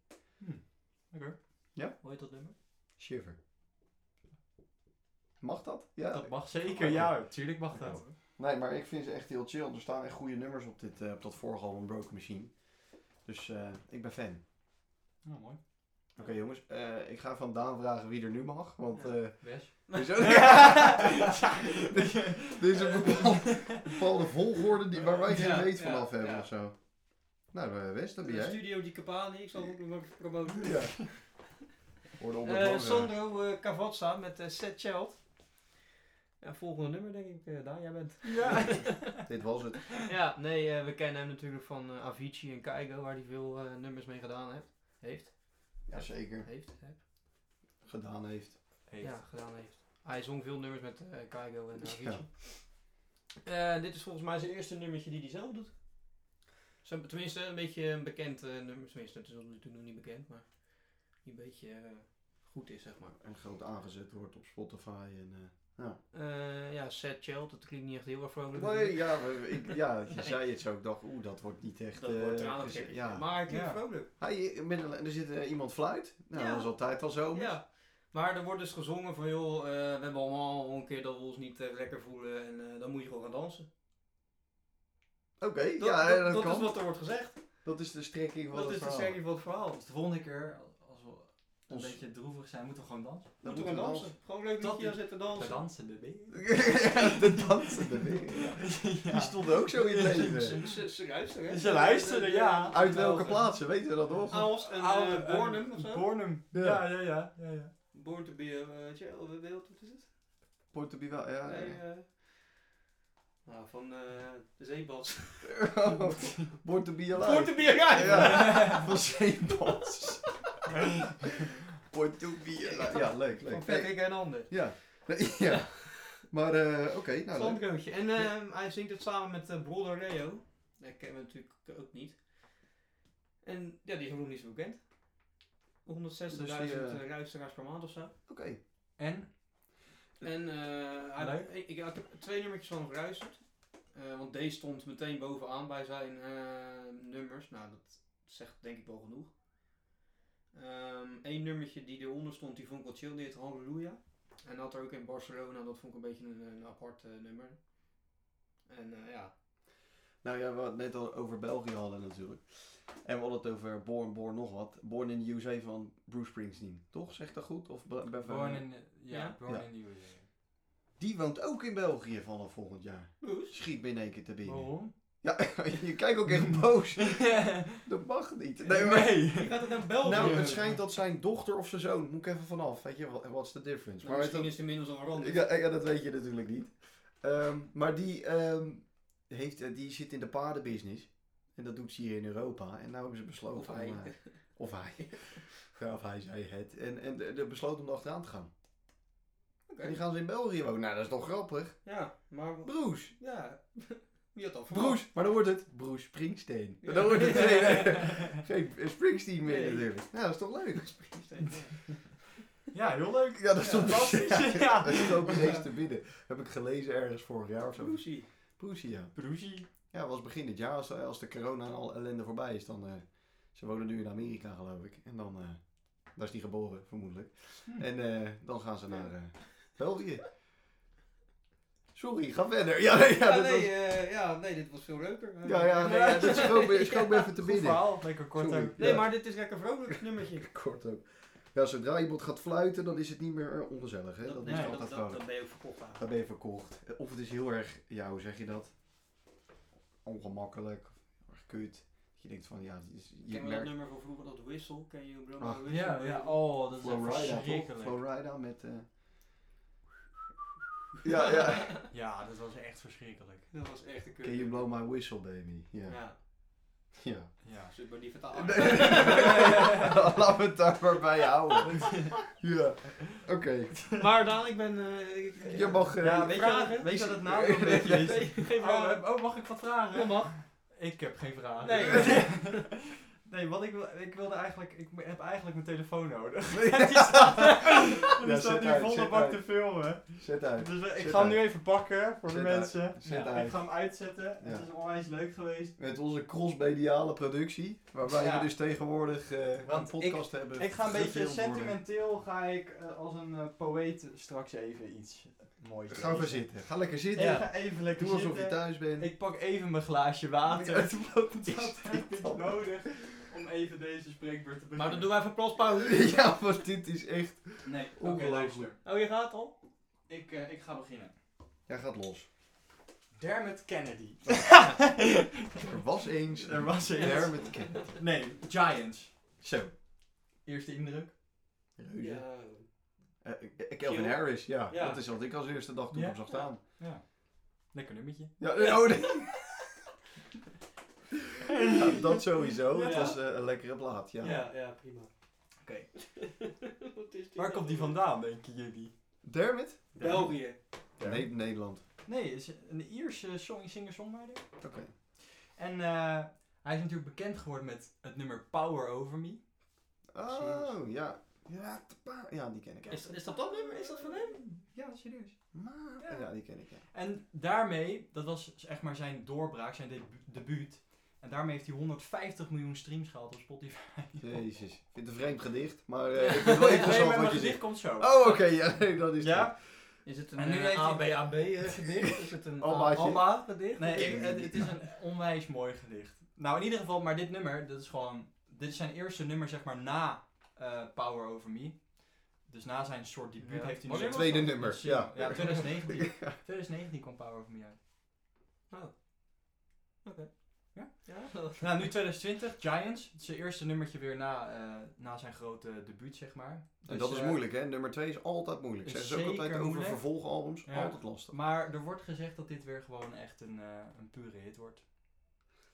Oké. Ja? Hoor je dat nummer? Shiver. Mag dat? Ja. Dat mag zeker, ja. Tuurlijk mag dat. Nee, maar ik vind ze echt heel chill. Er staan echt goede nummers op, dit, eh, op dat vorige album Broken Machine. Dus eh, ik ben fan. Nou, mooi. Oké jongens, eh, ik ga van Daan vragen wie er nu mag. Want... Ja. eh, Wes? Er is ook- Er is een bepaalde, bepaalde volgorde die, waar wij geen Ja, weet ja, vanaf hebben ja. of zo. Nou, eh, Wes, dat ben De jij. studio die Capani, ik zal ook nog even promoten. Ja. Worden onder Eh, dwang, eh. Sandro eh, Cavazza met eh, Set Child. Ja, volgende nummer denk ik, eh Daan, jij bent. Ja. Dit was het. ja, nee, eh, we kennen hem natuurlijk van eh, Avicii en Keigo, waar hij veel eh, nummers mee gedaan heeft. Heeft. Ja, zeker. Heeft. heeft. Gedaan heeft. Heeft. Ja, gedaan heeft. Hij zong veel nummers met eh Keigo en Avicii. Ja. Eh, dit is volgens mij zijn eerste nummertje die hij zelf doet. Zijn, tenminste, een beetje een bekend eh, nummer. Tenminste, het is tot nu toe nog niet bekend, maar die een beetje eh, goed is, zeg maar. En groot aangezet wordt op Spotify en... eh, Eh, ja, Sad Child, dat klinkt niet echt heel erg vrolijk. Nee, ja, we- ik, ja, je Nee. zei het zo. Ik dacht, oeh, dat wordt niet echt... Dat eh, wordt geze- tranendruk. Ja. Maar het klinkt Ja. vrolijk. Hij, met een- er zit eh, iemand fluit. Nou, Ja. dat is altijd wel zo. Ja. Maar er wordt dus gezongen van, joh, eh, we hebben allemaal al een keer dat we ons niet eh, lekker voelen en eh, dan moet je gewoon gaan dansen. Oké, Dat, ja, dat, dat, dat kan. is wat er wordt gezegd. Dat is de strekking van Dat het is de verhaal. serie van het verhaal. Dus de volgende keer, als we een Ons- beetje droevig zijn, moeten we gewoon dansen. Dan moeten we gaan dansen. Gewoon leuk Dat dat je aan is- zitten We dansen. dansen de benen. de dansende weer. Die stonden ook zo in het leven. Ze, ze, ze luisteren, hè? Ze luisteren, ja. Uit welke plaatsen, weten we dat nog? Aals en Oude, eh, eh, Bornum of zo. Bornum. Ja. Ja, ja, ja. ja, ja, Born to be a uh, child, wereld, wat is het? Point to be wel, ja. Nee, eh, nou, van eh, de zeebas. Born to be Born alive. to be alive! Ja, van Zeebans. Born to be alive. Ja, leuk, Van leuk. vet Nee, ik en ander. Ja. Nee, ja. Maar, eh, oké, nou leuk. Zandroodje. En ehm, hij zingt het samen met eh, Brother Leo. Dat kennen we natuurlijk ook niet. En ja, die is nog niet zo bekend. 160.000 Dus die, eh, eh, luisteraars per maand of zo. Oké. En? En eh, hij- Leuk. ik, ik had er twee nummertjes van hem geluisterd. Eh, want deze stond meteen bovenaan bij zijn eh, nummers. Nou, dat zegt denk ik wel genoeg. Eén nummertje die eronder stond, die vond ik wel chill. Die heet Halleluja. En had er ook in Barcelona, dat vond ik een beetje een, een apart eh, nummer. En eh, ja, Nou ja, we hadden het net al over België hadden natuurlijk. En we hadden het over Born, Born nog wat. Born in the USA van Bruce Springsteen. Toch? Zegt dat goed? Of be- be- Born in, ja, Ja? Born Ja. in the USA. Die woont ook in België vanaf volgend jaar. Bruce. Schiet me in één keer te binnen. Waarom? Ja, je kijkt ook echt boos. Dat mag niet. Nee, maar... Je gaat het naar België. Nou, het schijnt dat zijn dochter of zijn zoon, moet ik even vanaf, weet je, wat what's the difference? Nou, Maar weet misschien dat- is het inmiddels al veranderd. ja, ja, dat weet je natuurlijk niet. Ehm, maar die, ehm, heeft, eh, die zit in de paardenbusiness en dat doet ze hier in Europa. En nou hebben ze besloten Of hij. om, eh, of hij, ja, of hij zei het, en, en de, de besloten om achteraan te gaan. Oké. En die gaan ze in België wonen, nou dat is toch grappig? Ja, maar Broes, ja. Wie had dat verwacht? Broes, maar dan wordt het Broes Springsteen. Ja. Dan wordt het geen, eh, geen Springsteen meer Nee. natuurlijk. Nou, dat is toch leuk? Ja, heel leuk. Ja, dat is Ja. fantastisch. Ja. Ja. Dat is ook ineens te binnen. Heb ik gelezen ergens vorig jaar of zo. Lucy. Poesie, ja. Broesie. Ja, was begin dit jaar. Als, eh, als de corona en al ellende voorbij is, dan... eh, ze wonen nu in Amerika, geloof ik. En dan... eh, daar is die geboren, vermoedelijk. Hm. En eh, dan gaan ze naar eh, België. Sorry, ga verder. Ja, nee, ja, Ja, dat nee, was... eh, ja, nee, dit was veel leuker. Eh, Ja, ja, nee, ja, dat schoot me, schoot me even te Goed binnen. verhaal. Lekker kort Sorry. ook. Nee, Ja. maar dit is lekker een vrolijk nummertje. Kort ook. Ja, zodra iemand gaat fluiten, dan is het niet meer eh, ongezellig, hè? Dat nee, is dat- altijd gewoon. ben je ook verkocht aan. Dan ben je verkocht. Of het is heel erg, ja, hoe zeg je dat? Ongemakkelijk, heel erg kut. Dat je denkt van, ja, het is- je Ken je dat merkt nummer van vroeger, dat Whistle? Ken je Bruno Ah, Whistle? Ja, ja. Oh, dat is echt Florida, toch? verschrikkelijk. Florida met... eh, Ja, ja. Ja, dat was echt verschrikkelijk. Dat was echt een kut. Can you blow my whistle, baby? Ja. Ja. Ja, Ja. zit maar niet Nee, Oh. vertalen. nee, nee. Laten we het daar maar bij houden. Ja. Oké. Maar Daan, ik ben... eh, ik- Je mag... eh, Ja, Weet je vragen? wat- Weet je is- wat het nadeel een beetje is? Nee, geen Oh, vragen. heb- oh, mag ik wat vragen? Dat mag. Ik heb geen vragen. Nee. nee, wat ik, wil, ik wilde eigenlijk... Ik m- heb eigenlijk mijn telefoon nodig. Nee. die staat, die Ja, zet staat hier uit, volle zet bak uit. te filmen. Zet uit. Dus eh, ik Zet ga hem nu uit. even pakken voor de Zet uit. mensen. Zet Ja, uit. Ik ga hem uitzetten. Het Ja. is onwijs leuk geweest. Met onze crossmediale productie, waarbij Ja. we dus tegenwoordig eh, een Want podcast hebben. Ik ga een beetje gefilmd worden. sentimenteel, ga ik eh, als een eh, poëet straks even iets moois Ga even lezen. zitten. Ga lekker Ik zitten. ga even lekker Doe alsof je zitten. thuis bent. Ik pak even mijn glaasje water. Dat is heb ik nodig om even deze spreekbeurt te beginnen. Maar dan doen wij even plaspauze. ja, want dit is echt... Nee, oké, Ongelooflijk. luister. Oh, je gaat al? Ik, eh, ik ga beginnen. Jij gaat los. Dermot Kennedy. Er was eens Er was eens. Dermot Kennedy. Nee, Giants. Zo. Eerste indruk. Reuze. Ja. Eh, eh, Kelvin Kill. Harris, ja. Ja. Dat is wat ik als eerste dag toen Ja. op zag staan. Ja. Lekker nummertje. Ja, eh, oh, nee. Ja, dat sowieso. Het Ja. was eh, een lekkere plaat, ja. Ja, ja, prima. Oké. Wat is dit Waar komt die nou? vandaan, denken jullie? Dermot? België. Nee, Nederland. Nee, is een Ierse song, singer-songwriter. Oké. En eh, hij is natuurlijk bekend geworden met het nummer Power Over Me. Oh, ja. Ja, te pa- ja, die ken ik. Is, is dat dat nummer? Is dat van hem? Ja, serieus. Maar, ja, die ken ik. Ja. En daarmee, dat was echt maar zijn doorbraak, zijn debu- debuut. En daarmee heeft hij 150 miljoen streams gehaald op Spotify. Jezus. Ik vind het een vreemd gedicht, maar eh, ik vind het wel nee, interessant maar mijn wat je gedicht zegt. komt zo. Oh, oké, ja, nee, dat is Ja? Is het En nu een eh, heeft hij- ABAB-gedicht? Is het een eh, Almaatje. ABBA-gedicht? Nee, ik- het, het is een onwijs mooi gedicht. Nou, in ieder geval, maar dit nummer, dat is gewoon... Dit is zijn eerste nummer, zeg maar, na eh, Power Over Me. Dus na zijn soort debuut Ja. heeft hij Maar nu dit zo'n- tweede een nummer, single. ja. Ja, 2019. 2019 kwam Power Over Me uit. Ja, dat- Nou, nu 2020, Giants. Het is zijn eerste nummertje weer na, eh, na zijn grote debuut, zeg maar. En Dus, dat is eh, moeilijk, hè? Nummer 2 is altijd moeilijk. is Zeggen ze ook altijd zeker over moeilijk. vervolgalbums. Ja. Altijd lastig. Maar er wordt gezegd dat dit weer gewoon echt een, eh, een pure hit wordt.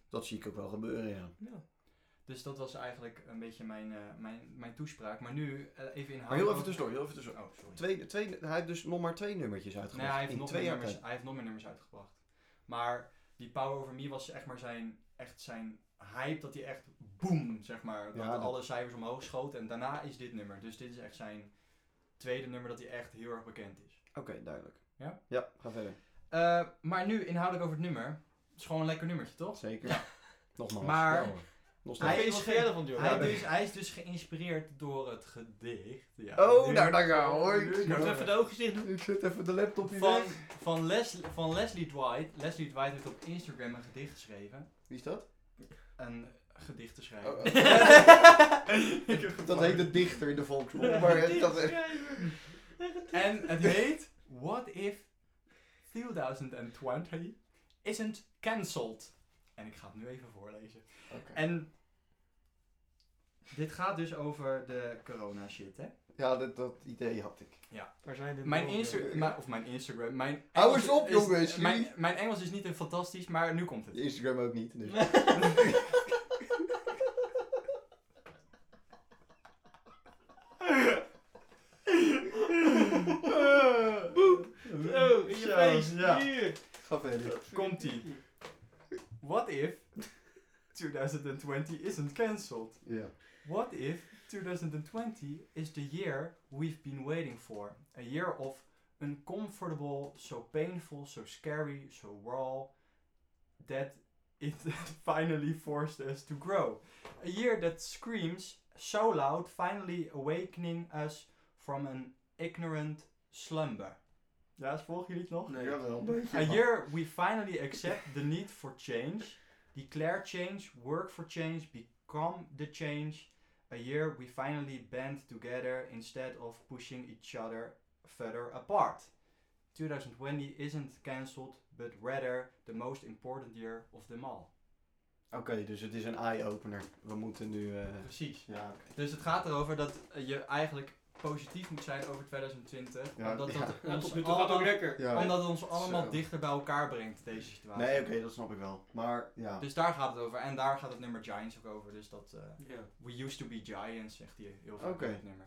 Dat zie ik ook wel gebeuren, ja. ja. Dus dat was eigenlijk een beetje mijn, eh, mijn, mijn toespraak. Maar nu eh, even in Maar heel even tussendoor, heel even tussendoor. Oh, sorry. Twee, twee, hij heeft dus nog maar twee nummertjes Nee, uitgebracht. hij heeft, In nog twee meer jaar nummers, tijd. hij heeft nog meer nummers uitgebracht. Maar die Power Over Me was echt maar zijn, echt zijn hype dat hij echt boom, zeg maar. Dat, Ja, dat- alle cijfers omhoog schoot. En daarna is dit nummer. Dus dit is echt zijn tweede nummer dat hij echt heel erg bekend is. Oké, duidelijk. Ja? Ja, ga verder. Eh, maar nu inhoudelijk over het nummer. Het is gewoon een lekker nummertje, toch? Zeker. Nogmaals. Maar Ja, hoor. Nog Hij steeds. is Gefeliciteerd van Jordi. Hij, Ja. dus, hij is dus geïnspireerd door het gedicht. Ja, Oh, nu- nou, daar gaan we, hoor. nu- Ik- Moeten we even de oogjes dicht doen? Ik zet even de laptop hier Van, weg. van, Leslie, van Leslie Dwight. Leslie Dwight heeft op Instagram een gedicht geschreven. Wie is dat? Een gedicht te schrijven. Oh, Ik heb dat gevangen. heet de dichter in de volksmond. Maar het- dat is... En het heet What if 2020 isn't cancelled? En ik ga het nu even voorlezen. En dit gaat dus over de corona shit, hè? Ja, dat, dat idee had ik. Waar zijn de Mijn, ogen? Insta mijn- of mijn Instagram. Mijn Oh, Hou Engels eens op, is- jongens, Mijn, jullie. mijn Engels is niet een fantastisch, maar nu komt het. Instagram ook niet. Dus. Eh, Boep. Zo, Oh, in je Zo, face. ja. Hier. Ga verder. Komt-ie. What if 2020 isn't cancelled? Ja. What if 2020 is the year we've been waiting for? A year of uncomfortable, so painful, so scary, so raw, that it finally forced us to grow. A year that screams so loud, finally awakening us from an ignorant slumber. Ja, volgen jullie het nog? Nee. Jawel, een beetje. A year we finally accept the need for change, declare change, work for change, become the change. A year we finally band together instead of pushing each other further apart. 2020 isn't cancelled, but rather the most important year of them all. Oké, dus het is een eye-opener. We moeten nu... eh, Precies. ja, oké. Dus het gaat erover dat eh, je eigenlijk positief moet zijn over 2020. Ja, omdat, ja. dat Ja, ons tot nu toe gaat het ook allemaal- lekker. Ja. omdat het ons allemaal Zo. dichter bij elkaar brengt, deze situatie. Nee, oké, dat snap ik wel. Maar, ja. Dus daar gaat het over. En daar gaat het nummer Giants ook over. Dus dat eh, Ja. We used to be Giants, zegt hij heel vaak Oké. in het nummer.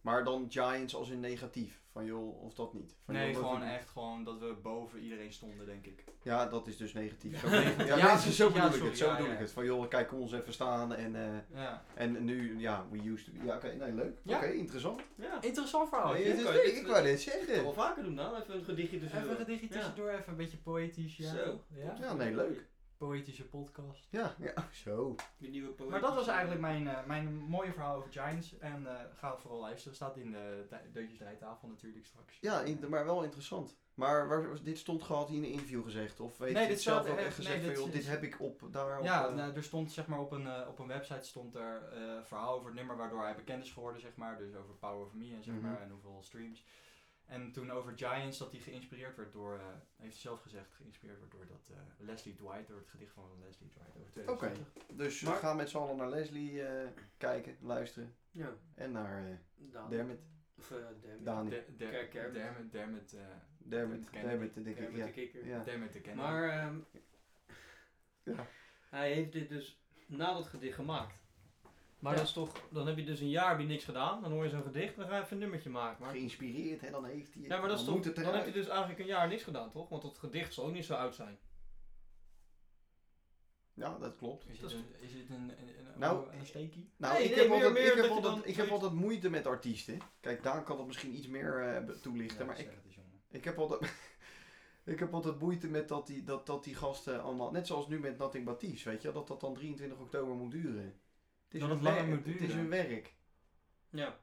Maar dan Giants als in negatief. Van joh, of dat niet. Van, Nee, joh, dat gewoon niet. echt gewoon dat we boven iedereen stonden, denk ik. Ja, dat is dus negatief. Zo Ja, negatief. Ja, ja, nee, zo ja, bedoel ik sorry, het. Zo ja, bedoel ja. ik het. Van joh, kijk hoe ons even staan. En, eh, Ja. en nu, ja, we used to be. Ja, oké, nee, leuk. Ja. Oké, interessant. Ja. Interessant verhaal. Nee, hè? dit is kan je leuk, dit- ik wou dit Kan wel zeggen. vaker doen dan. Even een gedichtje tussendoor. Even een gedichtje tussendoor, even een beetje poëtisch. Ja. Zo. Ja? Ja, nee, leuk. Poëtische podcast. Ja, ja. zo. De nieuwe poëzie. Maar dat was eigenlijk mijn, eh, mijn mooie verhaal over Giants. En eh, ga het vooral luisteren. Staat in de tij- Deuntjes Rijtafel natuurlijk straks. Ja, in- maar wel interessant. Maar waar, was- dit stond gehad in een interview gezegd? Of weet Nee, je dit het zelf staat ook echt- echt nee, gezegd? van, dit joh, is- dit heb ik op daar. Ja, op, eh, nou, er stond zeg maar op een, eh, op een website stond er eh verhaal over het nummer waardoor hij bekend is geworden, zeg maar. Dus over Power of Me en zeg maar, Mhm. en hoeveel streams. En toen over Giants, dat hij geïnspireerd werd door, eh, heeft hij zelf gezegd, geïnspireerd werd door dat eh, Leslie Dwight, door het gedicht van Leslie Dwight over 2020. dus Maar- we gaan met z'n allen naar Leslie eh, kijken, luisteren. Ja. En naar eh, Daan. Dermot. Of eh, Dermot. Dani. De- de- Kijk, Dermot. Dermot, Dermot, eh, Dermot, Kennedy. Dermot de dikke. Dermot Ja. de kikker. Ja. Dermot de Kennedy. Maar ehm, Ja. hij heeft dit dus na dat gedicht gemaakt. Maar Ja. dat is toch, dan heb je dus een jaar heb je niks gedaan, dan hoor je zo'n gedicht, dan ga je even een nummertje maken. Maar, Geïnspireerd, hè, dan heeft hij. het. ja, maar dat is dan toch, moet het dan heb je eruit. dus eigenlijk een jaar niks gedaan, toch? Want dat gedicht zal ook niet zo oud zijn. Ja, dat klopt. is dat het is- een, is het een, een, een, Nou, een steekie? Nou, Nee, ik, nee, heb meer- altijd, meer ik, dat heb je altijd, dan ik heb zoiets- altijd moeite met artiesten. Kijk, Daan kan dat misschien iets meer eh, be- toelichten, maar ik, ik heb altijd... Ik heb altijd moeite met dat die, dat, dat die gasten allemaal, net zoals nu met Nothing But Thieves, weet je, wel, dat dat dan 23 oktober moet duren. Het Dat hun het langer werk, moet Het is duren. hun werk. Ja.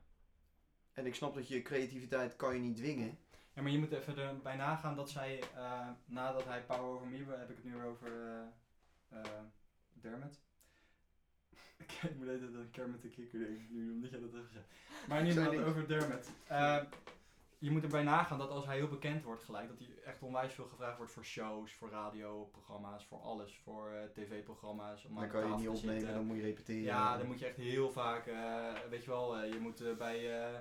En ik snap dat je creativiteit kan je niet dwingen. Ja, maar je moet even erbij nagaan dat zij, eh, nadat hij Power Over Me, heb ik het nu weer over eh, eh, Dermot. Oké, ik moet even dat Kermit de Kikker denken nu, omdat jij dat hebt gezegd. Maar in ieder Sorry. geval over Dermot. Eh, je moet erbij nagaan dat als hij heel bekend wordt gelijk, dat hij echt onwijs veel gevraagd wordt voor shows, voor radioprogramma's, voor alles, voor eh, tv-programma's. Om aan Dan de kan je het tafel niet te opnemen, zitten. dan moet je repeteren. eh, Ja, dan moet je echt heel vaak, eh, weet je wel, eh, je moet eh, bij eh,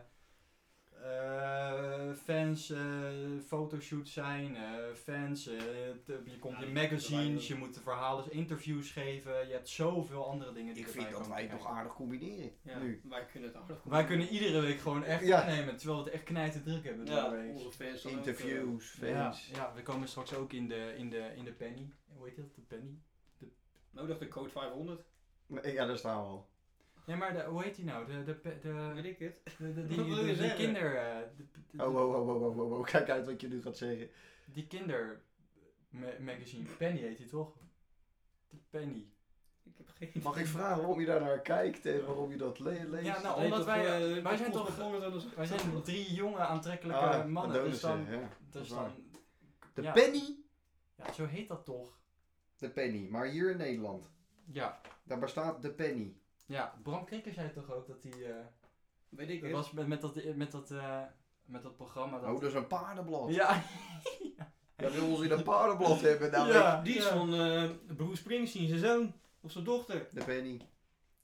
eh, fans eh, fotoshoots zijn, eh, fans, eh, te- je komt Ja, in die moeten magazines, wij je moet de verhalen, interviews geven, je hebt zoveel andere dingen die ik vind erbij dat komen wij het nog kijken. aardig combineren. ja. Nu. Wij kunnen het aardig Wij kunnen iedere week gewoon echt Ja. opnemen, terwijl we het echt knijten druk hebben door de ja, week. onze fans dan ook, eh, Interviews, Ja, fans. ja, we komen straks ook in de, in de, in de penny. Hoe heet dat? De penny? nodig de code 500. Nee, Ja, daar staan we al. Nee, maar de, hoe heet die nou? De, de, pe- Weet de, ik het? de, de- die, Wat wil je die- die zeggen? kinder... eh, de- de- de- Oh, wow, wow, wow, wow, wow. Kijk uit wat je nu gaat zeggen. Die kinder ma- magazine. Penny heet die toch? De Penny. Ik heb geen idee. Mag ik vragen waarom je daar naar kijkt en waarom je dat le- leest? Ja, nou, Nee, omdat toch, wij... eh, wij zijn Cosmo toch- Connors en zo. Wij zijn drie jonge, aantrekkelijke Ah, mannen. Dus Adonissen, dan... ja. dat Dus is waar. dan De ja. penny? ja, zo heet dat toch? De penny. Maar hier in Nederland, Ja. daar bestaat de penny. Ja, Bram Krikker zei toch ook dat hij... eh, Weet ik dat het? was met, met, dat, met, dat, eh, met dat programma... Dat, Oh, dat is een paardenblad. Ja. Ja. wil ons in een paardenblad hebben. Nou, Ja. Die is van eh Bruce Springsteen, zijn zoon. Of zijn dochter. De penny.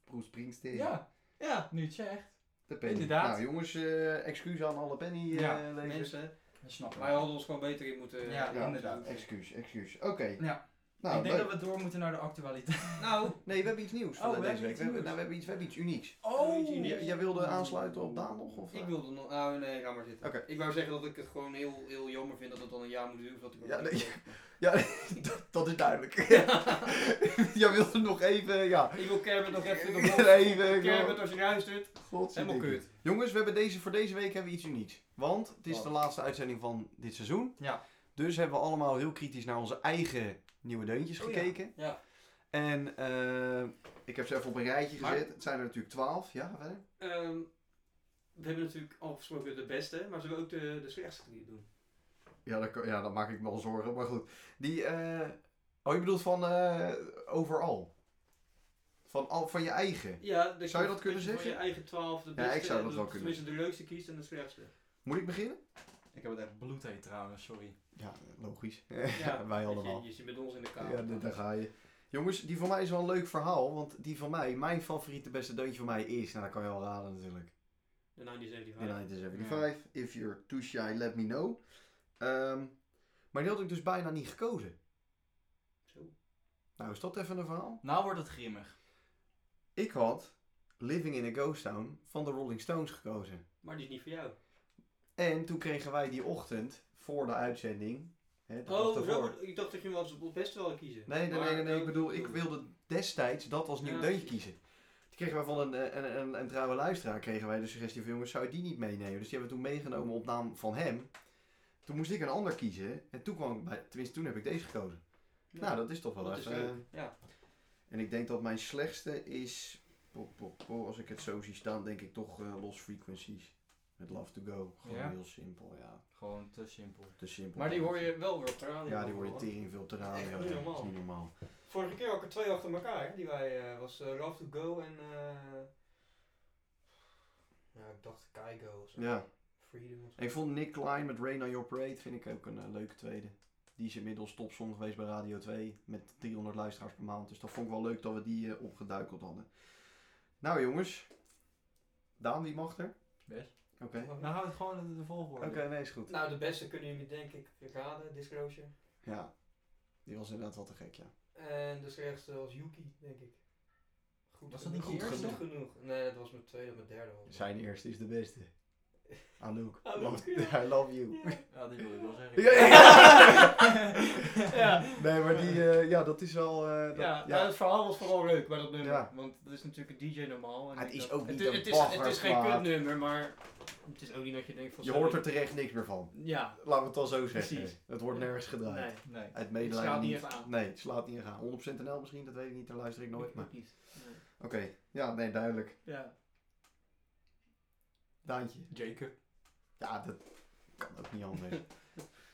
Bruce Springsteen. ja, Ja. nu het zegt. De penny. Inderdaad. Nou jongens, eh excuus aan alle penny eh Ja, lezers. Mensen, Dat snap ik. wij hadden ons gewoon beter in moeten... eh, Ja, Ja, inderdaad. Excuus, excuus. Oké. Ja. Nou, ik denk leuk. dat we door moeten naar de actualiteit. Nou, Nee, we hebben iets nieuws Oh, voor we deze hebben week. iets We hebben, nieuws. nou, we, hebben iets, we hebben iets unieks. Oh! Ja, J- jij wilde aansluiten op Daan nog? Of, eh? ik wilde nog... Nou, nee, ga maar zitten. Oké. Ik wou zeggen dat ik het gewoon heel, heel jammer vind dat het dan een jaar moet duren. voordat ik Ja, nee. Ja, dat, dat is duidelijk. jij wilde nog even, ja. Ik wil Kermit nog even... de Even, bol- even Kermit, als je luistert. Godzijdank. Helemaal kut. Jongens, we hebben deze, voor deze week hebben we iets unieks. Want het is Wat? de laatste uitzending van dit seizoen. Ja. Dus hebben we allemaal heel kritisch naar onze eigen nieuwe deuntjes Oh ja. gekeken. Ja. En eh, ik heb ze even op een rijtje Maar- gezet. Het zijn er natuurlijk twaalf. Ja, verder. Ehm, we hebben natuurlijk al gesproken de beste, maar zullen we ook de, de slechtste die doen? Ja, dat, kan- ja, dat maak ik me al zorgen. Maar goed. Die, eh, oh, je bedoelt van eh, overal. Van, al, van je eigen. Ja, dus Zou je dat kunnen van zeggen? je eigen twaalf de Ja, beste. ik zou dat en wel de- kunnen. Tenminste, de leukste kiest en de slechtste. Moet ik beginnen? Ik heb het echt bloedheet trouwens, sorry. Ja, logisch. Ja, Wij weet je, allemaal. Je, zit met ons in de kamer. Ja, daar- daar ga je. Jongens, die van mij is wel een leuk verhaal. Want die van mij, mijn favoriete beste deuntje van mij is... Nou, dat kan je wel raden natuurlijk. De 1975. In 1975, If You're Too Shy, Let Me Know. Ehm, maar die had ik dus bijna niet gekozen. Zo. Nou, is dat even een verhaal? Nou wordt het grimmig. Ik had Living in a Ghost Town van de Rolling Stones gekozen. Maar die is niet voor jou. En toen kregen wij die ochtend, voor de uitzending... Hè, de dag Oh, ervoor. zo, ik dacht dat je hem als het beste wel kiezen. Nee, nee, nee, Maar- nee, nee, ik bedoel, ik wilde destijds dat als nieuw Ja, deuntje precies. kiezen. Toen kregen wij van een, eh, een, een, een trouwe luisteraar kregen wij de suggestie van jongens, zou je die niet meenemen? Dus die hebben we toen meegenomen op naam van hem. Toen moest ik een ander kiezen en toen kwam ik bij, tenminste toen heb ik deze gekozen. Ja, Nou, dat is toch wel dat is even, leuk. eh, Ja. En ik denk dat mijn slechtste is, po, po, po, als ik het zo zie staan, denk ik toch eh Lost Frequencies. Met Love to Go. Gewoon Ja? heel simpel, ja. Gewoon te simpel. Te simpel. Maar die hoor je wel weer op de radio. Ja, die hoor je tering veel te raden. Echt ja, niet dat normaal. is niet normaal. Vorige keer had ik er twee achter elkaar. Hè? Die wij eh, was eh, Love to Go en. eh ja, ik dacht Kaigo of zo. Ja. Freedom of zo. Ik vond Nick Klein met Rain on Your Parade vind ik ook een eh, leuke tweede. Die is inmiddels topsong geweest bij Radio 2 met 300 luisteraars per maand. Dus dat vond ik wel leuk dat we die eh, opgeduikeld hadden. Nou jongens, Daan wie mag er? Best. Oké. Nou houden we het gewoon in de volgorde. Oké, nee is goed. Nou, de beste kunnen jullie denk ik raden, Disclosure. Ja, die was inderdaad wel te gek ja. En de slechtste was Yuki, denk ik. Goed Was dat niet genoeg. je Goed eerste? genoeg. Nee, dat was mijn tweede, mijn derde. al. Zijn eerste is de beste. Anouk, Anouk, love- ja. I love you. Ja, die wil ik wel zeggen. Ja, Ja. Nee, maar die, eh, ja dat is wel... eh, dat- Ja, nou, het verhaal was vooral leuk bij dat nummer. Ja. Want dat is natuurlijk een DJ normaal. En Het ik is dacht- ook niet het, een het is, het is baggerplaat. geen kutnummer, maar het is ook niet dat je denkt van... Je zo- hoort er terecht niks meer van. Ja, Laten we het dan zo zeggen. Precies. Het wordt nergens gedraaid. nee. Nee. Uit Het medelijden slaat niet niet. echt aan. Nee, het slaat niet aan. 100% NL misschien, dat weet ik niet. Daar luister ik nooit. Ik Maar... ook niet. Nee. Oké, ja, nee, duidelijk. Ja. Daantje. Jacob. Ja, dat kan ook niet anders.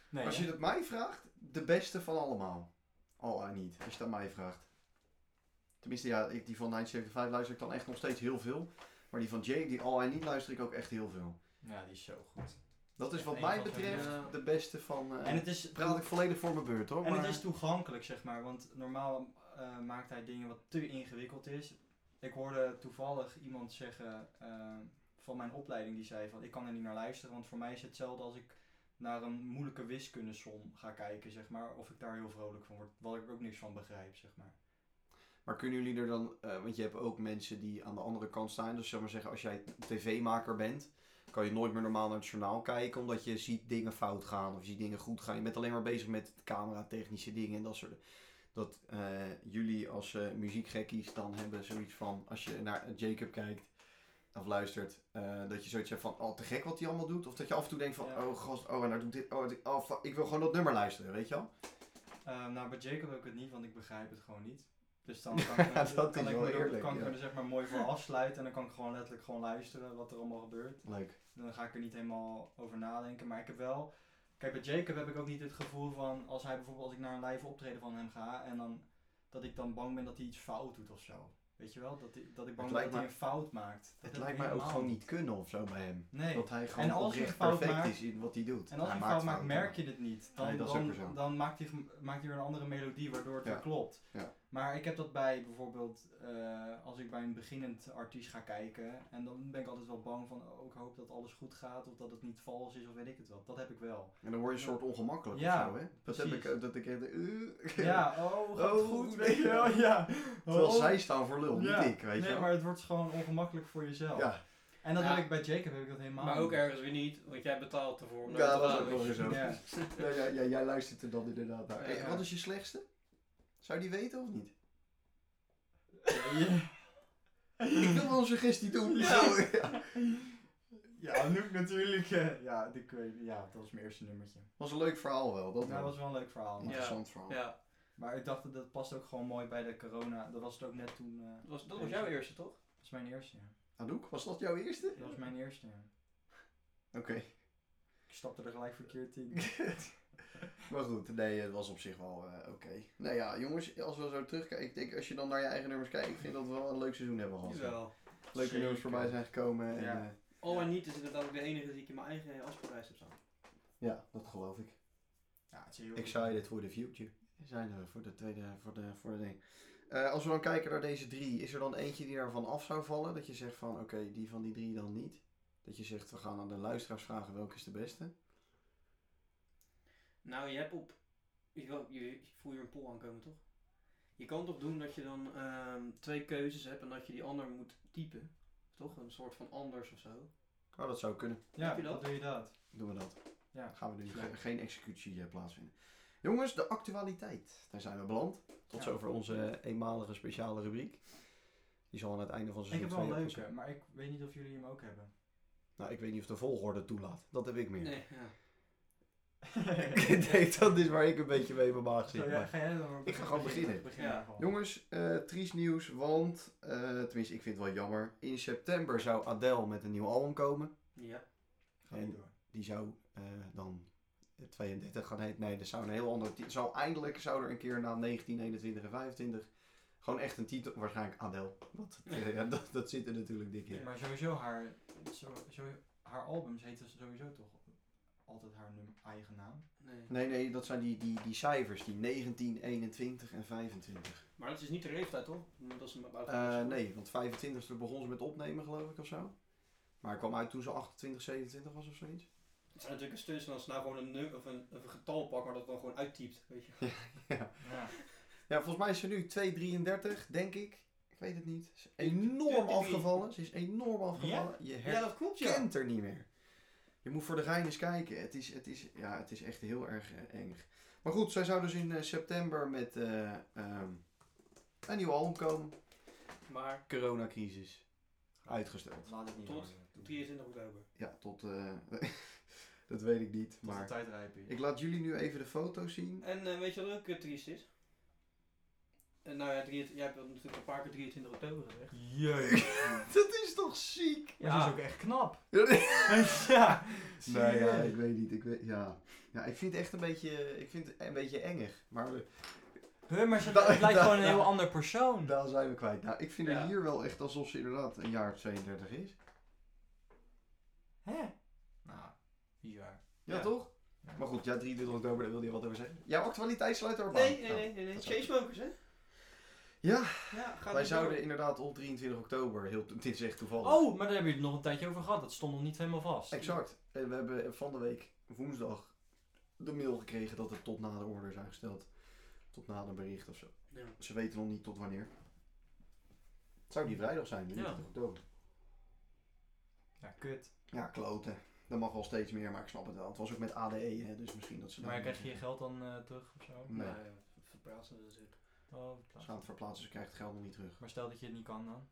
Nee. Als hè? je het mij vraagt, de beste van allemaal. Al aan niet, als je het aan mij vraagt. Tenminste, ja, ik, die van 975 luister ik dan echt nog steeds heel veel. Maar die van Jay, die al aan niet, luister ik ook echt heel veel. Ja, die is zo goed. Dat is Echt wat een mij van zijn, betreft eh, de beste van... eh, En het is, praat ik volledig voor mijn beurt hoor. en het maar- is toegankelijk, zeg maar. Want normaal eh, maakt hij dingen wat te ingewikkeld is. Ik hoorde toevallig iemand zeggen eh, van mijn opleiding, die zei van... Ik kan er niet naar luisteren, want voor mij is het hetzelfde als ik naar een moeilijke wiskundesom ga kijken, zeg maar. Of ik daar heel vrolijk van word, wat ik ook niks van begrijp, zeg maar. Maar kunnen jullie er dan, eh, want je hebt ook mensen die aan de andere kant staan. Dus zeg maar zeggen, als jij tv-maker bent, kan je nooit meer normaal naar het journaal kijken. Omdat je ziet dingen fout gaan of je ziet dingen goed gaan. Je bent alleen maar bezig met camera, technische dingen en dat soort dat eh, jullie als eh, muziekgekkies dan hebben zoiets van, als je naar Jacob kijkt of luistert, eh, dat je zoiets hebt van, oh te gek wat hij allemaal doet. Of dat je af en toe denkt van, Ja. oh gast, oh en nou doet dit, oh, dit- oh fuck, ik wil gewoon dat nummer luisteren, weet je wel? Ehm, nou, bij Jacob heb ik het niet, want ik begrijp het gewoon niet. Dus dan kan ik, me- Dat kan is ik, wel me er- eerlijk, kan ik ja. me er zeg maar mooi voor afsluiten. En dan kan ik gewoon letterlijk gewoon luisteren wat er allemaal gebeurt. Leuk. Dan ga ik er niet helemaal over nadenken. Maar ik heb wel. Kijk, bij Jacob heb ik ook niet het gevoel van. Als hij bijvoorbeeld. Als ik naar een live optreden van hem ga. En dan. Dat ik dan bang ben dat hij iets fout doet of zo. Weet je wel? Dat, hij- dat ik bang ben lijkt dat hij me- een fout maakt. Dat Het heb lijkt ik mij ook helemaal gewoon niet kunnen of zo bij hem. Nee. Dat hij gewoon als hij oprecht een fout perfect maakt- is in wat hij doet. En als hij Hij een fout maakt, fouten. merk je het niet. Dan, Nee, dat is ook weer zo. dan, dan maakt, hij, gem- maakt hij weer een andere melodie, waardoor het Ja. weer klopt. Ja. Maar ik heb dat bij bijvoorbeeld, eh, als ik bij een beginnend artiest ga kijken, en dan ben ik altijd wel bang van, oh, ik hoop dat alles goed gaat, of dat het niet vals is, of weet ik het wat. Dat heb ik wel. En dan word je een soort ongemakkelijk Ja, of zo, hè? Dat heb ik, precies. eh, dat ik echt... eh, Ja, oh, gaat Oh, goed, nee. weet je wel, ja. Terwijl Oh. zij staan voor lul, Ja. niet ik, weet je Nee, wel. maar het wordt dus gewoon ongemakkelijk voor jezelf. Ja, En dat Ja. heb ik bij Jacob heb ik dat helemaal Maar ook niet. ergens weer niet, want jij betaalt ervoor. om ja te dat is gaan, ook weet wel je. weer zo. Ja. Ja, ja, ja, jij luistert er dan inderdaad naar. Ja. Eh, Wat is je slechtste? Zou die weten of niet? Ik wil wel een suggestie doen. Ja. Zo, ja. Ja, Anouk natuurlijk. eh, ja, ik weet- ja, dat was mijn eerste nummertje. Was een leuk verhaal wel. Dat Dat wel. was wel een leuk verhaal. een maar- interessant verhaal. Ja, Maar ik dacht dat dat past ook gewoon mooi bij de corona. Dat was het ook net toen. eh, dat was, dat was jouw eerste toch? dat was mijn eerste. Ja. Anouk, was dat jouw eerste? Dat was mijn eerste. ja. Oké. Ik stapte er gelijk verkeerd in. Maar goed, nee, het was op zich wel eh, oké. Nou ja, jongens, als we zo terugkijken, ik denk als je dan naar je eigen nummers kijkt, ik vind dat we wel een leuk seizoen hebben gehad. Jawel. Leuke Zeker. nummers voorbij zijn gekomen. En, Ja. eh, All I Need is inderdaad ook de enige die dus ik in mijn eigen afspraaklijst heb staan. ja, dat geloof ik. Ja, het is heel Excited for the future. Zijn we voor de tweede, voor de, voor de ding. Eh, als we dan kijken naar deze drie, is er dan eentje die daarvan af zou vallen? Dat je zegt van, oké, die van die drie dan niet. Dat je zegt, we gaan aan de luisteraars vragen welke is de beste. Nou, je hebt op. Je, wil- je, je voel je een poll aankomen toch? Je kan toch doen dat je dan ehm, twee keuzes hebt en dat je die ander moet typen? Toch? Een soort van anders of zo. Oh, dat zou kunnen. Ja, Heb je dat? dan doe je dat. Doen we dat. Ja. Gaan we nu Ja. ge- geen executie eh, plaatsvinden. Jongens, de actualiteit. Daar zijn we beland. Tot Ja. zover onze eh, eenmalige speciale rubriek. Die zal aan het einde van Ik seizoen heb wel een 2 leuke, maar ik weet niet of jullie hem ook hebben. Nou, ik weet niet of de volgorde toelaat. Dat heb ik meer. Nee, ja. nee, dat is waar ik een beetje mee in mijn maag zit. Zo, maar- Oh, ja, ga jij dan maar Ik ga gewoon beginnen. Begin Ja. maar gewoon. Jongens, eh triest nieuws, want, eh, tenminste ik vind het wel jammer, in september zou Adele met een nieuw album komen. Ja. Ga je door. Die zou eh, dan 32 gaan heten. Nee, dat zou een heel ander titel. Zou eindelijk zou er een keer na 19, 21 en 25 gewoon echt een titel, waarschijnlijk Adele. Want eh, ja, dat, dat zit er natuurlijk dik in. Maar sowieso haar, zo, zo, haar albums heten sowieso toch altijd haar num- eigen naam. Nee. Nee, nee, dat zijn die, die, die cijfers, die 19, 21 en 25. Maar dat is niet de leeftijd toch? Dat is een Eh, nee, want 25 begon ze met opnemen geloof ik of zo. Maar het kwam uit toen ze 28, 27 was of zoiets. Het zijn natuurlijk een stunts en als ze nou gewoon een, nummer of een, of een getal pakken, maar dat dan gewoon uittypt. Weet je. Ja. Ja, volgens mij is ze nu 2,33, denk ik. Ik weet het niet. Ze is Ik- enorm 23. afgevallen. Ze is enorm afgevallen. Je Ja, dat klopt ja. herkent er niet meer. Je moet voor de gein eens kijken. Het is, het is, ja, het is echt heel erg eh, eng. Maar goed, zij zou dus in eh, september met eh, ehm, een nieuw album komen. Maar Coronacrisis. Uitgesteld. Laat het niet Tot horen. 23 oktober. Ja, tot... eh, dat weet ik niet, Tot de maar... tijd rijp is. Ik laat jullie nu even de foto's zien. En eh, weet je wat ook eh, triest is? En nou ja, drie, jij hebt dat natuurlijk een paar keer 23 oktober gezegd. Jeetje. Dat is toch ziek? Maar ze is ook echt knap. ja. Nou ja, serieus. ik weet niet. Ik weet, ja. ja, ik vind het echt een beetje, ik vind het een beetje engig. Maar we- Huh, maar ze, Da- het lijkt da- gewoon een da- heel ander persoon. daar zijn we kwijt. Nou, ik vind het Ja. hier wel echt alsof ze inderdaad een jaar of 32 is. Hè? Nou, bizar. Ja, Ja. toch? Ja. Maar goed, ja, 23 oktober, daar wilde je wat over zeggen. Jouw actualiteit sluit erop Nee, aan. nee, Nou, nee, nee. nee. dat is Chase ook- Smokers, hè? Ja. Ja, gaat Wij zouden inderdaad op 23 oktober, heel, dit is echt toevallig. Oh, maar daar hebben jullie nog een tijdje over gehad. Dat stond nog niet helemaal vast. Exact. En we hebben van de week, woensdag, de mail gekregen dat het tot na de order is aangesteld. Tot na de bericht of zo. Ja. Ze weten nog niet tot wanneer. Het zou die vrijdag zijn, 23 oktober. Ja, kut. Ja, kloten. Dat mag wel steeds meer, maar ik snap het wel. Het was ook met ADE, hè, E, dus misschien dat ze... Maar daar- krijg je je geld dan eh, terug of zo? Nee. Nou, verplaatsen natuurlijk. Oh, Als je aan het verplaatsen, dus je krijgt het geld nog niet terug. maar stel dat je het niet kan dan.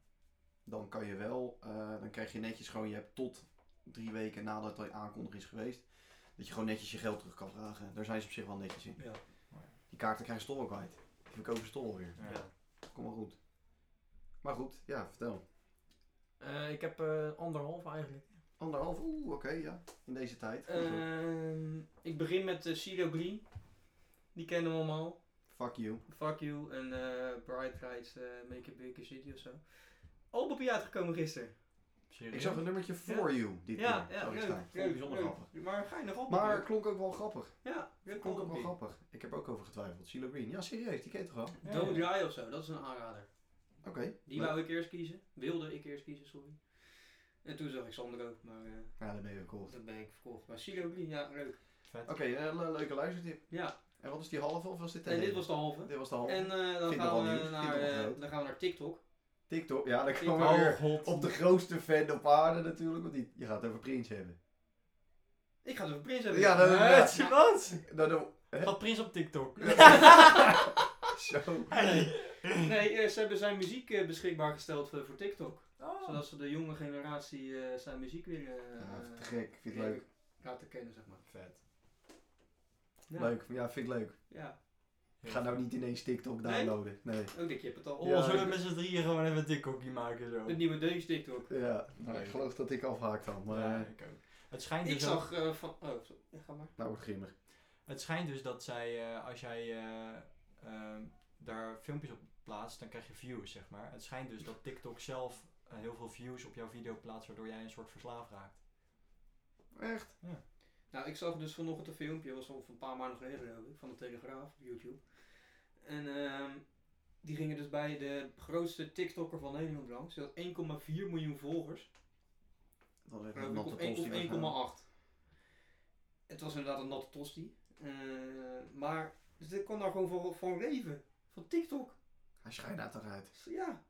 Dan kan je wel, eh, dan krijg je netjes gewoon, je hebt tot drie weken nadat de aankondiging is geweest, dat je gewoon netjes je geld terug kan vragen. Daar zijn ze op zich wel netjes in. Ja. Die kaarten krijgen ze toch wel kwijt. Die verkopen ze toch wel weer. Ja. Kom maar goed. Maar goed, ja, vertel. Eh, ik heb eh, anderhalf eigenlijk. Anderhalf, oeh, oké, ja. In deze tijd. Ehm, ik begin met eh, Cee-Lo Green. Die kennen we allemaal. Fuck you. Fuck You en eh, Bright Lights eh, Make a Bigger City of zo. Albopie uitgekomen gisteren. Serieus? Ik zag een nummertje For You dit Ja, keer. ja, Zag ik leuk, staan. Vond ik leuk, bijzonder leuk. grappig. Maar ga je nog op? Maar klonk ook wel grappig. ja, dat Klonk ook wel wel. grappig. Ik heb ook over getwijfeld. CeeLo Green. Ja, serieus, die ken je toch wel? Ja, Don't ja. Die of zo, dat is een aanrader. Oké. Die leuk. wou ik eerst kiezen. Wilde ik eerst kiezen, sorry. En toen zag ik Sander ook, maar eh Ja, dan ben je weer cool. Oké, dat ben ik verkocht. Maar Cee-Lo Green, ja, leuk. Vet. eh, le- leuke luistertip. Ja, En wat is die halve of was dit de en dit hele? was de halve. Dit was de halve. En eh, dan, Vind ik wel gaan we nieuws, naar, vind ik wel eh, groot. dan gaan we naar TikTok. TikTok. Ja, dan TikTok. kwam we weer Oh, god. op de grootste fan op aarde natuurlijk. Want die, je gaat het over Prins hebben. Ik ga het over Prins hebben. Ja, dat- Eh, ja. Wat? Dan, dan, Gaat Prins op TikTok? ah, zo. Nee, eh, ze hebben zijn muziek eh, beschikbaar gesteld voor, voor TikTok. Oh. Zodat ze de jonge generatie eh, zijn muziek weer eh, Ja, te gek. Vind ik leuk. laten kennen, zeg maar. Vet. Ja. Leuk. Ja, vind ik leuk. Ja. Ik ga nou niet ineens TikTok downloaden. Nee. Ook dit, je hebt het al. Oh, Ja, zullen we ik- met z'n drieën gewoon even een TikTokje maken zo? Het nieuwe Deus TikTok. Ja, nou, Nee. ik geloof dat ik afhaakt dan. Maar Ja, eh, ik ook. Het schijnt, Ik dus ook- zag eh, van... Oh, zo- ja, ga maar. nou wordt grimmig. het schijnt dus dat zij, eh, als jij eh, ehm, daar filmpjes op plaatst, dan krijg je views, zeg maar. Het schijnt dus dat TikTok zelf eh, heel veel views op jouw video plaatst, waardoor jij een soort verslaafd raakt. Echt? Nou, ik zag dus vanochtend een filmpje, was al een paar maanden geleden geloof ik, van de Telegraaf op YouTube. En ehm, die gingen dus bij de grootste TikToker van Nederland langs. Die had 1,4 miljoen volgers. Dan even Geloof ik, of één- tosti waarschijnlijk. of 1,8. Het was inderdaad een natte tosti. Eh, maar dus dit kon daar gewoon van, van leven. Van TikTok. Hij schijnt daar toch uit. Dus ja.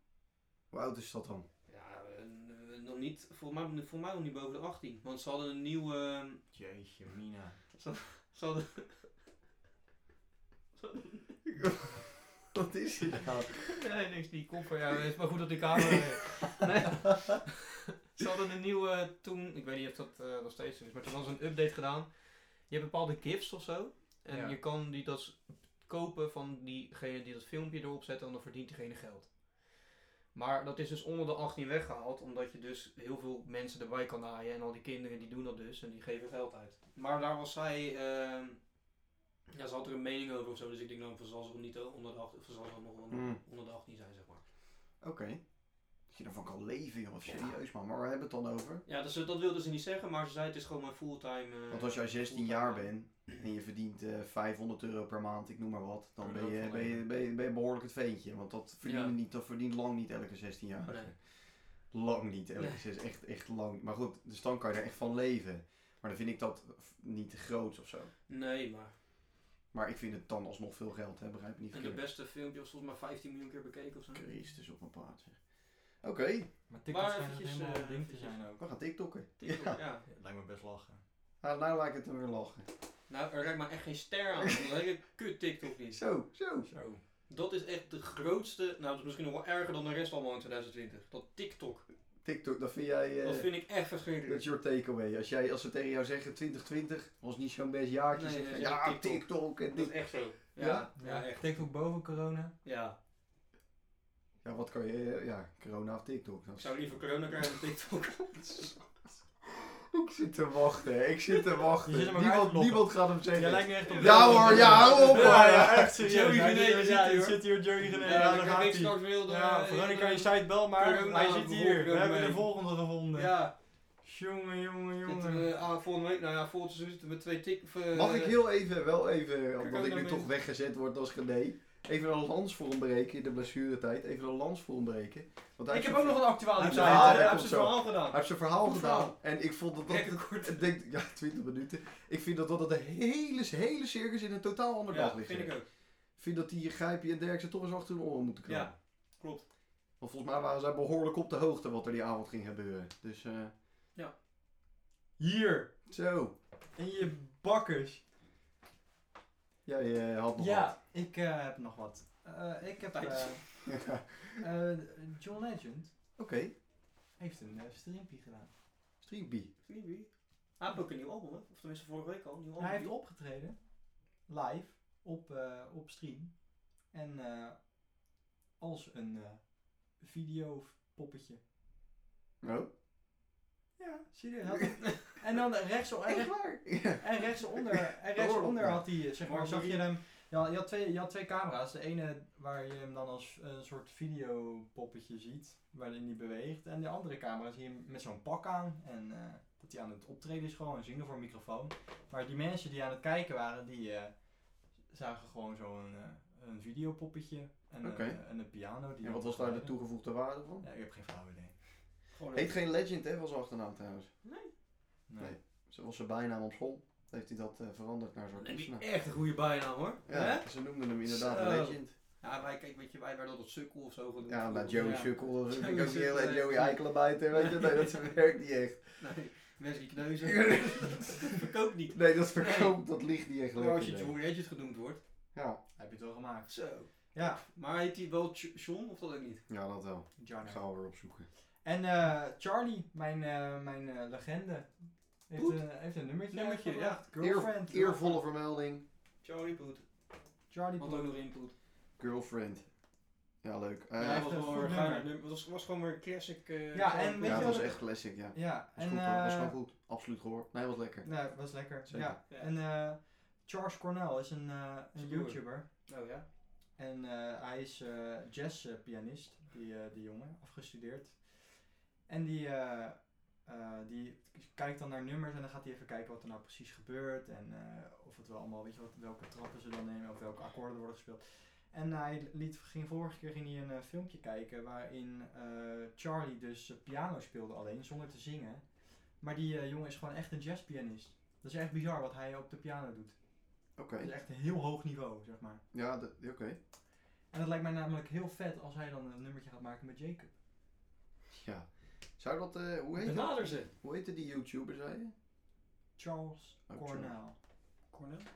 Hoe oud is dat dan? Ja, eh, eh, nog niet, volgens mij, volgens mij nog niet boven de 18. Want ze hadden een nieuw... ehm, Jeetje, Mina. ze hadden, Wat is dit nou? nee, niks, die kop van jou is maar goed op die camera. nee. Ze hadden een nieuwe toen, ik weet niet of dat eh, nog steeds zo is, maar toen hadden ze een update gedaan. Je hebt bepaalde gifs of zo. En Ja. je kan die dat s- kopen van diegene die dat filmpje erop zet en dan verdient diegene geld. Maar dat is dus onder de 18 weggehaald, omdat je dus heel veel mensen erbij kan naaien. En al die kinderen die doen dat dus en die geven geld uit. Maar daar was zij, ehm, ja, ze had er een mening over of zo. Dus ik denk dan, van zal ze wel niet eh, onder de 18, van zal ze nog wel Hmm. onder de 18 zijn, zeg maar. Oké. Dat je daarvan kan leven, joh. Serieus, man. Maar waar hebben we het dan over? Ja, dus, dat wilde ze niet zeggen, maar ze zei het is gewoon mijn fulltime. eh, Want als jij 16 fulltime jaar baan. bent en je verdient eh, 500 euro per maand, ik noem maar wat, dan Kun ben je je, ook van ben, je, leven. ben, je, ben je behoorlijk het veentje. Want dat verdient, Ja. niet, dat verdient lang niet elke 16 jaar. Nee. Lang niet elke Nee. 16 echt, echt lang. niet. Maar goed, dus dan kan je er echt van leven. Maar dan vind ik dat f- niet te groot of zo. Nee, maar. Maar ik vind het dan alsnog veel geld, hè? begrijp me niet En de verkeerd. beste filmpje was volgens mij 15 miljoen keer bekeken of zo. Christus op een paard, zeg. Oké, Maar TikTok Maar schijnt eventjes, helemaal eh, een ding te eventjes. zijn ook. we gaan TikTokken. TikTok, Ja. ja. Lijkt me best lachen. Ah, nou laat ik het dan weer lachen. Nou, er lijkt maar echt geen ster aan. Dat hele kut TikTok is. Zo, zo. Zo. Dat is echt de grootste. Nou, dat is misschien nog wel erger dan de rest allemaal in 2020. Dat TikTok. TikTok, dat vind jij... eh, Dat vind ik echt Dat is verschrikkelijk. your takeaway. Als, jij- als ze tegen jou zeggen 2020 was niet zo'n best jaartje. Nee, zeg nee, je, zeg ja, TikTok. TikTok. en Dat is dit. echt zo. Ja, Ja? ja, echt. TikTok boven corona. Ja. Ja, wat kan je... eh, Ja, corona of TikTok. Nou, Dat Ik is- zou liever corona krijgen dan TikTok. Ik zit te wachten. hè. Ik zit te wachten. Je zit hem ook niemand, uitlokken. niemand gaat hem zeggen. Jij lijkt me echt op... Ja hoor, ja, hou op, Ja, ja, man. echt serieus. Joey Hij zit- Genee, hij zit zit- hier, hij Zit hier Joey Genee. Ja, Ja, ik daar heb gaat ik hij. straks wilde. Ja, eh, Veronica, je eh, site bel maar. Corona Hij zit hier. We bevolking hebben mee. de volgende gevonden. Ja. Jongen, jongen, Zitten jongen. we, ah, volgende week, nou ja, volgend seizoen zitten we twee tik. of, eh, Mag ik heel even, wel even, Kijk, omdat ook ik naar nu toch beneden. weggezet word als gedee. Even een lans voor hem breken in de blessuretijd. Even een lans voor hem breken. Want hij Ik heeft heb zijn ook nog een Hij actualiteit. heeft zijn verhaal, Hij hè, heeft komt zijn verhaal Hij gedaan. heeft zijn verhaal Goed verhaal. gedaan. En ik vond dat dat... Lekker kort. Ik denk, ja, 20 minuten. Ik vind dat dat de hele, hele circus in een totaal ander dag Ja, ligt. vind ik ook. vind dat die Grijpje en Derksen toch eens achter hun oren moeten komen. Ja, klopt. Want volgens mij waren zij behoorlijk op de hoogte wat er die avond ging gebeuren. Dus eh, Hier. zo. In je bakkers. Ja, je eh, had nog wat. Ja, ik eh, heb nog wat. Eh, ik heb... eh, Ja. eh, John Legend Oké, heeft een eh, streampie gedaan. Streampie. Freebie. Hij heeft ook een nieuw album, hè? Of tenminste vorige week al. Een nieuw album. Hij heeft opgetreden, live, op, eh, op stream. En eh, als een eh videopoppetje. Oh. Ja, zie je dat? en dan rechtsonder, en, Echt rechts- waar? Ja. en rechtsonder, en rechtsonder had hij, eh, zeg maar, zag je hem... Ja, je, had twee, je had twee camera's. De ene waar je hem dan als eh, een soort videopoppetje ziet, waarin hij beweegt. En de andere camera zie je hem met zo'n pak aan. En eh, dat hij aan het optreden is gewoon en zingen voor een microfoon. Maar die mensen die aan het kijken waren, die eh, zagen gewoon zo'n eh, een videopoppetje en, Oké. een, en een piano. Die En wat was daar de toegevoegde waarde van? Ja, ik heb geen flauw idee. Gewoon Heet een- geen Legend, hè, van zijn achternaam trouwens. Nee. Nee. Ze was zijn bijnaam op school. Heeft hij dat eh, veranderd naar zo'n Dan heb je kunstenaar? echt een goede bijnaam hoor. Ja, Hè? ze noemden hem inderdaad Zo. Legend. Ja, wij, kijk, weet je, wij werden tot sukkel of zo genoemd. Ja, nou Joey Ja. Sukkel, dat vind ik ook Joey niet heel... En Sukkel, Joey ja. Eikelabijter, weet je? Nee, dat werkt niet echt. Nee, Wesley Kneuzen. dat verkoopt niet. Nee, dat verkoopt, dat ligt niet echt Maar lekker. als je nee. John Legend genoemd wordt. Ja. Heb je het wel gemaakt? Zo. Ja, Maar heet hij wel Ch- John of dat ook niet? ja, dat wel. Ik Johnny. ga wel weer opzoeken. En eh, Charlie, mijn, eh, mijn eh, legende, heeft, Poet. een- heeft een nummertje. Nummertje, uitgebracht. Eer, Girlfriend. eh, eervolle vermelding. Charlie Poet. Charlie Wat ook Poet. nog input. Girlfriend. Ja, leuk. Eh, echt Ja, hij ja, was een gewoon goed een gaar nummer. nummer. Het was, was gewoon weer een classic. eh, Ja, Charlie en Poet. weet je het wat was ik- echt classic, ja. Ja, Was en... goed hoor. Was eh, gewoon goed. Absoluut gehoor. Nee, was lekker. Nee, was lekker. Zeker. Ja. Ja. En eh, Charles Cornell is een, eh, een Stoer. YouTuber. Oh ja. En eh, hij is eh jazzpianist, die, eh, die jongen, afgestudeerd. En die, eh, eh, die kijkt dan naar nummers en dan gaat hij even kijken wat er nou precies gebeurt. En eh, of het wel allemaal, weet je wat, welke trappen ze dan nemen of welke akkoorden worden gespeeld. En hij liet, ging vorige keer ging hij een eh, filmpje kijken waarin eh, Charlie dus eh, piano speelde alleen, zonder te zingen. Maar die eh, jongen is gewoon echt een jazzpianist. Dat is echt bizar wat hij op de piano doet. Oké. Dat is echt een heel hoog niveau, zeg maar. Ja, de- oké. En dat lijkt mij namelijk heel vet als hij dan een nummertje gaat maken met Jacob. Ja. Zou dat... eh, hoe, heet dat? Benader ze. hoe heette die YouTuber, zei je? Charles Oh, Cornell. Cornel. Ik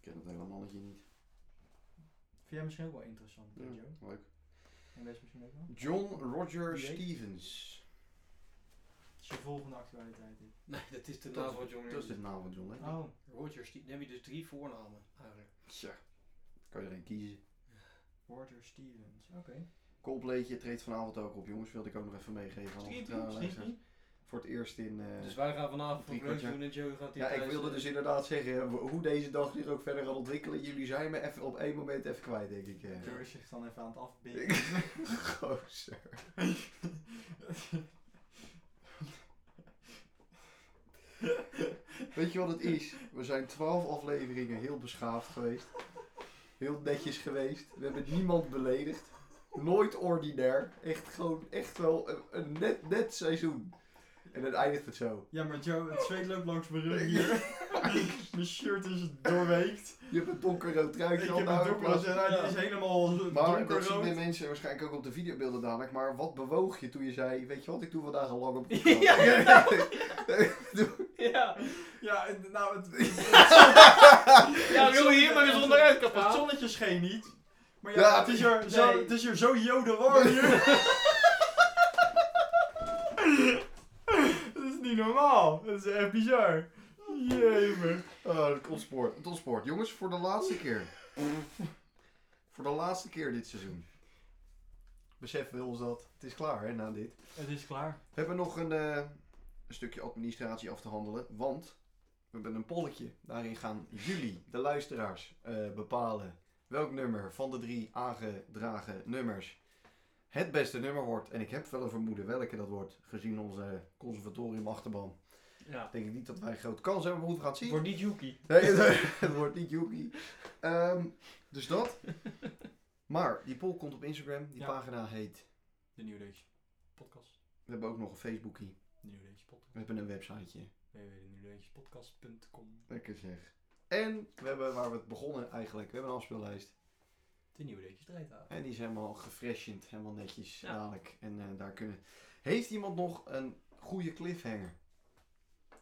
ken dat hele mannetje niet. Vind jij misschien ook wel interessant, hè, Ja, Joe? Leuk. En Wes misschien ook wel? John Roger Wie heet? Stevens. Het is je volgende actualiteit. dit. Nee, dat is de Dat- naam van John Dat is de Legend. naam van John, hè? Oh, Roger Steve. Dan heb je dus drie voornamen eigenlijk. Tja. Kan je er een kiezen. Roger Stevens. Oké. Coldplaytje treedt vanavond ook op, jongens. Wilde ik ook nog even meegeven. aan onze Streampie, trouwe streampie. luisteraars. Voor het eerst in... eh, Dus wij gaan vanavond drie voor lunch kwartier. doen en Joey gaat hier Ja, ik thuis, wilde eh, dus inderdaad zeggen ho- hoe deze dag zich ook verder gaat ontwikkelen. Jullie zijn me even op één moment even kwijt, denk ik. eh. Joe is zich dan even aan het afbinden. Ik- Gozer. Weet je wat het is? We zijn twaalf afleveringen heel beschaafd geweest. Heel netjes geweest. We hebben niemand beledigd. Nooit ordinair. Echt gewoon, echt wel een, een net, net seizoen. En dan eindigt het zo. Ja, maar Joe, het zweet loopt langs mijn rug hier. mijn shirt is doorweekt. Je hebt een donkerrood truitje ik al heb een nou in plaats- donkerroze en die is helemaal Maar dat zien de donkerrood. mensen waarschijnlijk ook op de videobeelden dadelijk. Maar wat bewoog je toen je zei, weet je wat, ik doe vandaag al lang op de Ja, Ja, Ja, en nou, het, ja wil je hier maar eens onderuit het kapot? zonnetje scheen niet. Maar ja, Ja, het, is hier zo, nee. het is hier zo jodenwarm hier. dat is niet normaal. Dat is echt bizar. Jemen. Oh, het ontspoort. Het ontspoort. Jongens, voor de laatste keer. voor de laatste keer dit seizoen. Beseffen we ons dat. Het is klaar, hè, na dit. Het is klaar. We hebben nog een, eh, een stukje administratie af te handelen. Want we hebben een polletje. Daarin gaan jullie, de luisteraars, eh, bepalen welk nummer van de drie aangedragen nummers het beste nummer wordt. En ik heb wel een vermoeden welke dat wordt, gezien onze conservatorium-achterban. Ja. Denk ik niet dat wij grote kans hebben, maar goed, we gaan het zien. Voor niet Yuki. Nee, het, het wordt niet Yuki. Ehm, dus dat. Maar die poll komt op Instagram. Die Ja. pagina heet... De New Days podcast. We hebben ook nog een Facebookie. De New Days podcast. We hebben een websiteje. www.newdagespodcast.com Lekker zeg. En we hebben waar we het begonnen eigenlijk. We hebben een afspeellijst. De New Days strijdhaven. En die is helemaal gefreshend. Helemaal netjes Ja. dadelijk. En eh, daar kunnen... Heeft iemand nog een goede cliffhanger?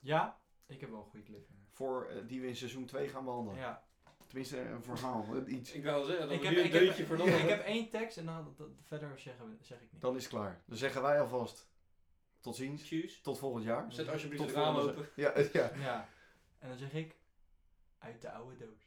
Ja, ik heb wel een goede cliffhanger. voor, eh, die we in seizoen 2 gaan behandelen. Ja. Tenminste, een verhaal, eh, iets. Ik wou zeggen, Ik heb, ik, heb, ik heb één tekst en dan dat, dat- verder zeggen we- zeg ik niet. Dan is het klaar. Dan zeggen wij alvast tot ziens, Choose. tot volgend jaar. eh, Zet alsjeblieft Tot het raam volgende open. Ja, ja. Ja. En dan zeg ik uit de oude doos.